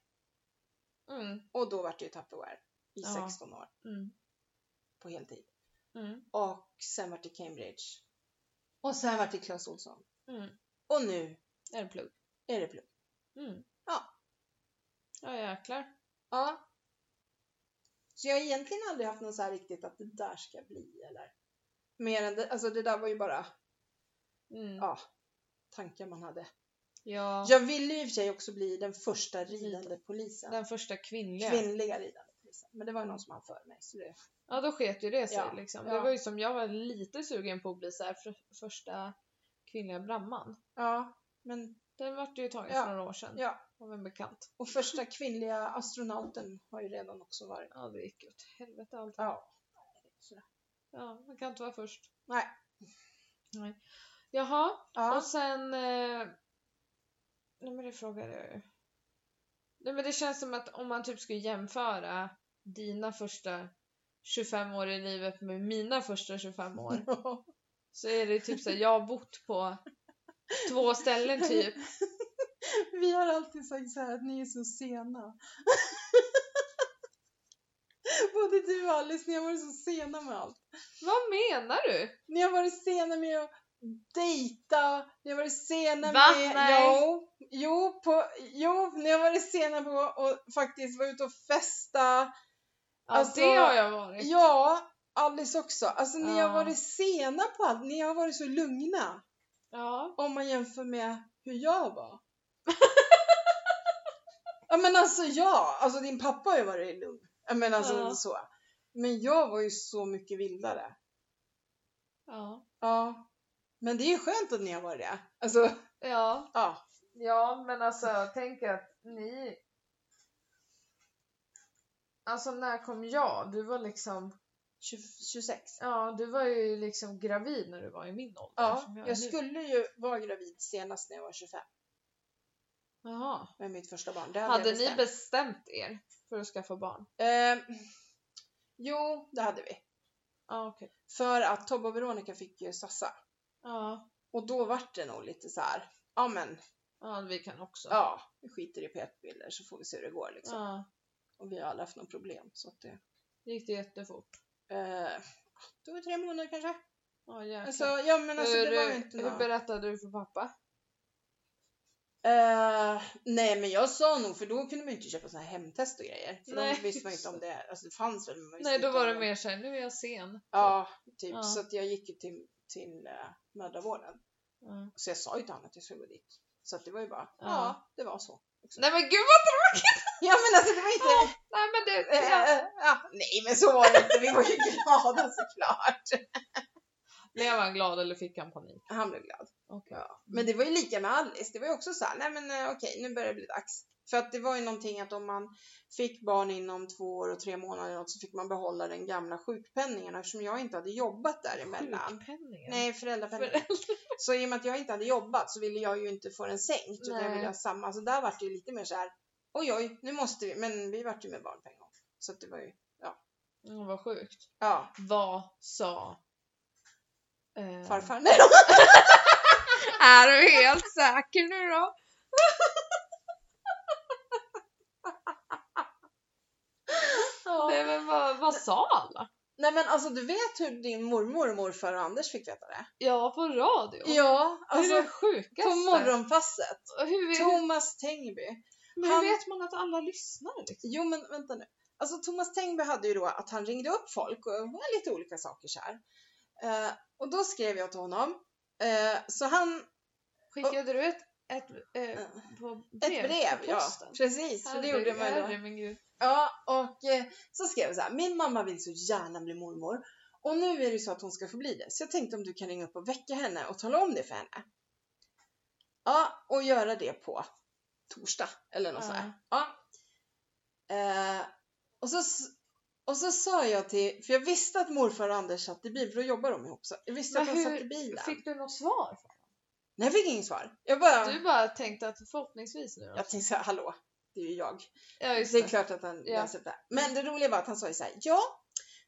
Mm. Och då vart det ju Tupperware i Ja. 16 år. Mm. på heltid. Mm. Och sen vart det Cambridge. Och sen vart det Clas Ohlson. Mm. Och nu Är det plugg? är det plugg. Mm. Ja. Ja jäklar. Ja. Så jag har egentligen aldrig haft någon så här riktigt att det där ska bli eller. Mer än det, alltså det där var ju bara Mm. ja, tankar man hade. Ja. Jag ville ju i och för sig också bli den första ridande polisen. Den första kvinnliga. Kvinnliga ridande polisen. Men det var ju någon som hann före mig. Så det, Ja då sket ju det sig Ja, liksom. ja. Det var ju som jag var lite sugen på att bli så här för, första kvinnliga bramman. ja, men Den vart ju tagen Ja, för några år sedan ja. av en bekant. Och första kvinnliga astronauten har ju redan också varit. Ja det gick ju åt helvete allt. Ja. Ja, man kan inte vara först. Nej. Nej. Jaha, Ja. och sen... Eh... Nej men det frågade jag ju. Nej men det känns som att om man typ skulle jämföra dina första 25 år i livet med mina första 25 år så är det typ så här, jag har bott på två ställen typ. Vi har alltid sagt så här att ni är så sena. Både du och Alice, ni har varit så sena med allt. Vad menar du? Ni har varit sena med att dejta, ni har varit sena Va? med... Nej. Jo, jo, på, jo, ni har varit sena på att faktiskt vara ute och festa. Ja, Alltså- det har jag varit. Ja, Alice också. Alltså ni Ja. har varit sena på allt, ni har varit så lugna. Ja. om man jämför med hur jag var. ja men alltså ja, alltså din pappa har ju varit lugn. Ja, men alltså Ja. så. Men jag var ju så mycket vildare. Ja. Ja. Men det är ju skönt att ni har varit det. Alltså, Ja. ja. Ja, men alltså tänk att ni... Alltså när kom jag? Du var liksom... 20, 26. Ja, du var ju liksom gravid när du var i min ålder. Ja, som är jag nu. skulle ju vara gravid senast när jag var 25 Jaha. med mitt första barn. Det hade, Hade jag ni bestämt. bestämt er för att skaffa barn? Ehm, jo, det hade vi. Ja, okej. För att Tobbe och Veronica fick ju Sassa. Ja. Och då vart det nog lite så här, ja men ja, vi kan också. ja, vi skiter i petbilder så får vi se hur det går liksom. Ja, Och vi har aldrig haft något problem så att det... det gick det jättefort. Eh, det var tre månader kanske. Ja, jäklar. Alltså, ja men alltså hur, eh, det var ju inte hur något... berättade du för pappa? Eh, nej men jag sa nog, för då kunde man ju inte köpa såna här hemtest och grejer. För Nej. då visste man ju inte om det, alltså det fanns väl men man visste Nej, då inte om var det mer såhär, nu är jag sen. Ja, typ. Ja. Så att jag gick ju till, till eh, mödravården. Ja. Så jag sa ju till honom att jag skulle gå dit. Så att det var ju bara, ja, Ja. det var så. Nej men gud vad... Ja men alltså det var inte... Nej men det... Eh, Ja. eh, ja. Nej men så var det inte, vi var ju glada såklart. Blev han glad eller fick han panik? Han blev glad. Okej. Men det var ju lika med Alice. Det var ju också så här, nej men eh, okej, nu börjar det bli dags. För att det var ju någonting att om man fick barn inom två år och tre månader eller något så fick man behålla den gamla sjukpenningen eftersom jag inte hade jobbat däremellan. Sjukpenningen? Nej, föräldrapenningen. Så i och med att jag inte hade jobbat så ville jag ju inte få den sänkt utan jag Nej. ville ha samma. Så där vart det ju lite mer så här, oj oj, nu måste vi, men vi vart ju med barnpeng också. Så att det var ju, Mm, vad sjukt. ja, Vad sa eh, farfar. Nej, Är du helt säker nu då? Nej då. men vad, vad sa alla? nej men alltså du vet hur din mormor och morfar och Anders fick veta det? Ja på radio. Ja, det är alltså det sjukaste. på morgonpasset. Hur, hur, Thomas Tengby. men hur han- vet man att alla lyssnar? Liksom? Jo men vänta nu. Alltså Thomas Tengby hade ju då att han ringde upp folk och var lite olika saker så här. Eh, och då skrev jag till honom. Eh, så han, Skickade du ett, ett, eh, eh, på brev, ett brev, på ja posten? precis, för det gjorde man ju då. Herre min gud. Ja, och eh, så skrev jag så här, min mamma vill så gärna bli mormor och nu är det ju så att hon ska få bli det, så jag tänkte om du kan ringa upp och väcka henne och tala om det för henne. Ja, och göra det på torsdag eller något Ja. sånt. Ja. Eh, och, så, s- och så sa jag till, för jag visste att morfar och Anders satt i bil, för då jobbar de ihop, så jag visste Men att han hur satt i bilen. Fick du något svar? Nej, jag fick inget svar. Jag bara, Du bara tänkte att förhoppningsvis nu då? jag tänkte så här, hallå, det är ju jag. Ja just det är det. klart att han Ja. läser upp det. här. Men det roliga var att han sa ju så här, ja,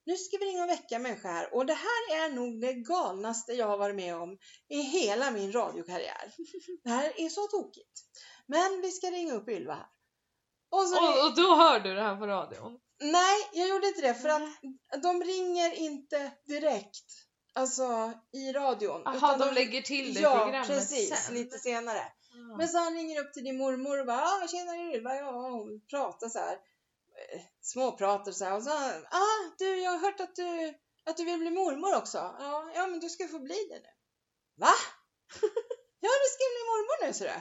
nu ska vi ringa och väcka en människa här och det här är nog det galnaste jag har varit med om i hela min radiokarriär. Det här är så tokigt. Men vi ska ringa upp Ylva här. Och så, Och, och då hör du det här på radion? Nej, jag gjorde inte det för Mm. att de ringer inte direkt. Alltså i radion. Jaha, utan de lägger till det i Ja, programmet precis. sen. Lite senare. Ja. Men så han ringer upp till din mormor och bara ah, “Tjena Ylva, ja hon pratar så här. eh, Småpratar så här och så “Ah, du jag har hört att du, att du vill bli mormor också. Ja, ja men du ska få bli det nu.” Va? ja du ska bli mormor nu ser du.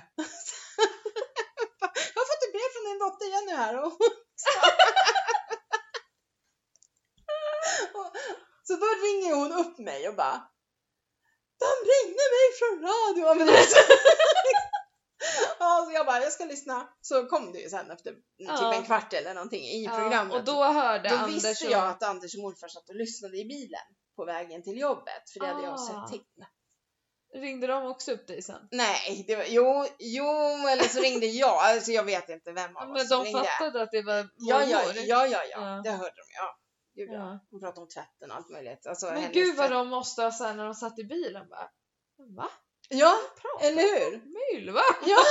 jag har fått ett brev från din dotter Jenny här och Och- Så då ringer hon upp mig och bara De ringde mig från radion! Men du vet, Ja, så jag bara, jag ska lyssna. Så kom det ju sen efter Ja. typ en kvart eller någonting i Ja, programmet. och då hörde Då Anders visste och- jag att Anders och morfar satt och lyssnade i bilen på vägen till jobbet, för det hade Ah. jag sett till. Ringde de också upp dig sen? Nej, det var, jo, jo, eller så ringde jag, alltså jag vet inte vem av Ja, oss men som de fattade att det var mormor? Ja, ja, ja, ja, ja, Ja. det hörde de, ja. Gud, ja. Ja. Hon pratade om tvätten och allt möjligt. Alltså, Men hennes gud vad tvätt- de måste ha sen när de satt i bilen bara. Va? Ja, Pratar eller hur? de Ylva? Ja,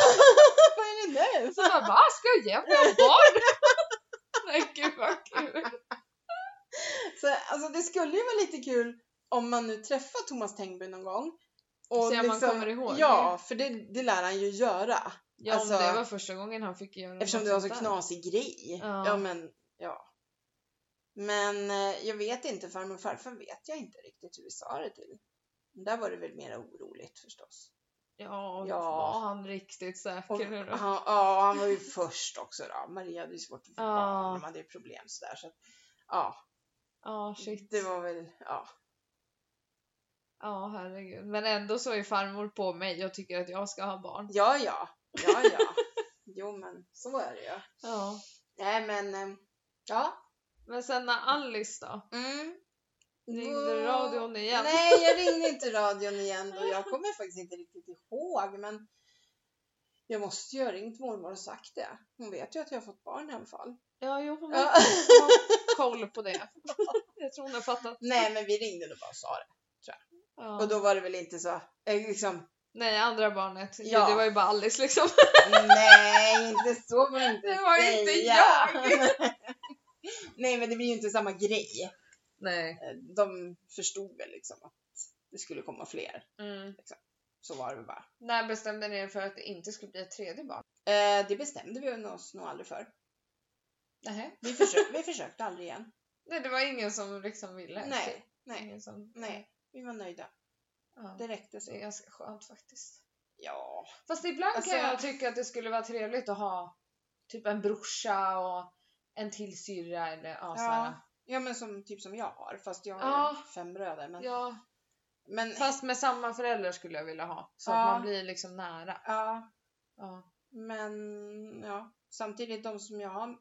vad är det nu? Så bara va? Ska jag ge mig om barn? Nej gud vad kul. Så, alltså, det skulle ju vara lite kul om man nu träffar Thomas Tengby någon gång. Och liksom- Se om han kommer ihåg. Mm, Ja, för det, det lär han ju göra. Ja Alltså- om det var första gången han fick göra Eftersom något det var så sånt där. knasig grej. Ja. men, ja. Men eh, jag vet inte, farmor och farfar vet jag inte riktigt hur vi sa det till. Där var det väl mer oroligt förstås. Ja, Ja. var han riktigt Och säker nu då? han, ja, han var ju först också då. Maria hade ju svårt att få Ja. barn, de hade ju problem sådär. Så att, ja, Ja, shit. det var väl, ja. Ja, herregud. Men ändå så är farmor på mig och tycker att jag ska ha barn. Ja, ja, ja, ja. Jo, men så är det ju. Ja. Nej, men, eh, ja. Men sen när Alice då? Mm. Ringde Då- radion igen? Nej, jag ringde inte radion igen då. Jag kommer faktiskt inte riktigt ihåg, men jag måste ju ha ringt mormor och sagt det. Hon vet ju att jag har fått barn i alla fall. Ja, jo, hon Ja. vet. Hon har koll på det. Jag tror hon har fattat. Nej, men vi ringde nog bara och sa det. Och Ja. då var det väl inte så, eh, liksom, Nej, andra barnet. Ja. Det var ju bara Alice liksom. nej, inte så får du inte Det var inte säga. jag. Nej, men det blir ju inte samma grej. Nej. Eh, De förstod väl liksom att det skulle komma fler. Mm. Så var det väl bara. När bestämde ni er för att det inte skulle bli ett tredje barn? Eh, det bestämde vi oss nog aldrig för. Nej. Vi, försö- vi försökte aldrig igen. Nej, det var ingen som liksom ville. Nej, nej, Ingen som... nej. Vi var nöjda. Ja. Det räckte Det är så. ganska skönt faktiskt. Ja. Fast ibland Alltså- kan jag tycka att det skulle vara trevligt att ha typ en brorsa och en till syrra eller ja, så här. Ja, ja men som, typ som jag har. Fast jag har Ja. ju fem bröder. Men, ja. men Fast med samma föräldrar skulle jag vilja ha. Så Ja. att man blir liksom nära. ja, Ja. men ja. Samtidigt de som jag har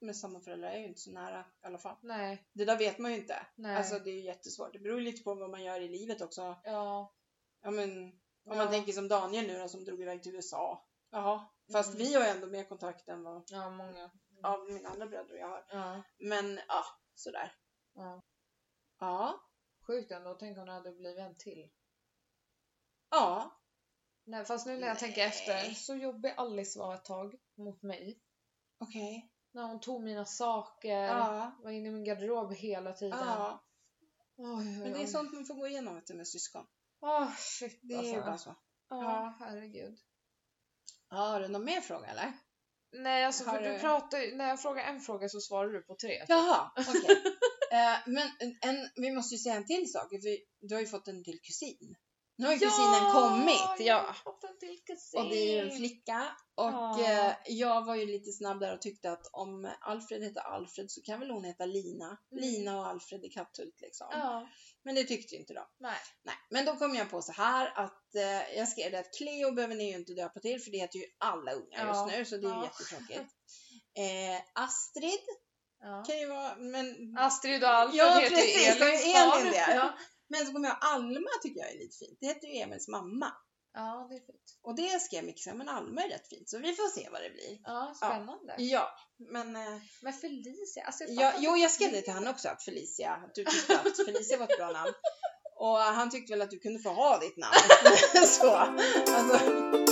med samma föräldrar är ju inte så nära i alla fall. Nej, Det där vet man ju inte. nej. Alltså det är ju jättesvårt. Det beror ju lite på vad man gör i livet också. ja. Ja men om Ja. man tänker som Daniel nu då som drog iväg till USA. Jaha. Mm. Fast Mm. vi har ju ändå mer kontakt än vad ja, många. av mina andra bröder och jag har. Ja. Men ja, sådär. Ja. Ja, Sjukt ändå, tänk om det hade blivit en till. ja, Nej, fast nu när jag tänker Nej. efter, så jobbig Alice var ett tag mot mig. okej. När hon tog mina saker, Ja, var inne i min garderob hela tiden. ja. Oj, oj, oj. Men det är sånt man får gå igenom vet du, med syskon. Åh, shit Det är alltså. ju bara så. Ja, herregud. Ja, har du någon mer fråga eller? Nej, alltså för Har du du- pratar ju- när jag frågar en fråga så svarar du på tre. Typ, Jaha, okej. Eh, men en, vi måste ju säga en till sak. För du har ju fått en till kusin. Nu har ju kusinen kommit. jag Ja. har fått en till kusin. Och det är ju en flicka. Och Ja. eh, jag var ju lite snabb där och tyckte att om Alfred heter Alfred så kan väl hon heta Lina. Mm. Lina och Alfred i Katthult liksom. Ja, Men det tyckte ju inte de. nej. Nej, men då kom jag på så här att eh, jag skrev det att Cleo behöver ni ju inte döpa till för det heter ju alla ungar Ja. just nu så det är ju Ja. jättetråkigt. Eh, Astrid Ja. kan ju vara, men... Astrid och Alfred ja, heter ju precis, det är Elins ju barn. Elin det. Ja. Men så kommer jag Alma tycker jag är lite fint. Det heter ju Emils mamma. Ja, det är fint. Och det skrev Micke så här, men Alma är rätt fint så vi får se vad det blir. Ja, spännande. Ja, men... Eh, Men Felicia, alltså jag Ja, fattar jo, inte. jag skrev det till han också att Felicia, att du tyckte att Felicia var ett bra namn. Och han tyckte väl att du kunde få ha ditt namn. Så, alltså.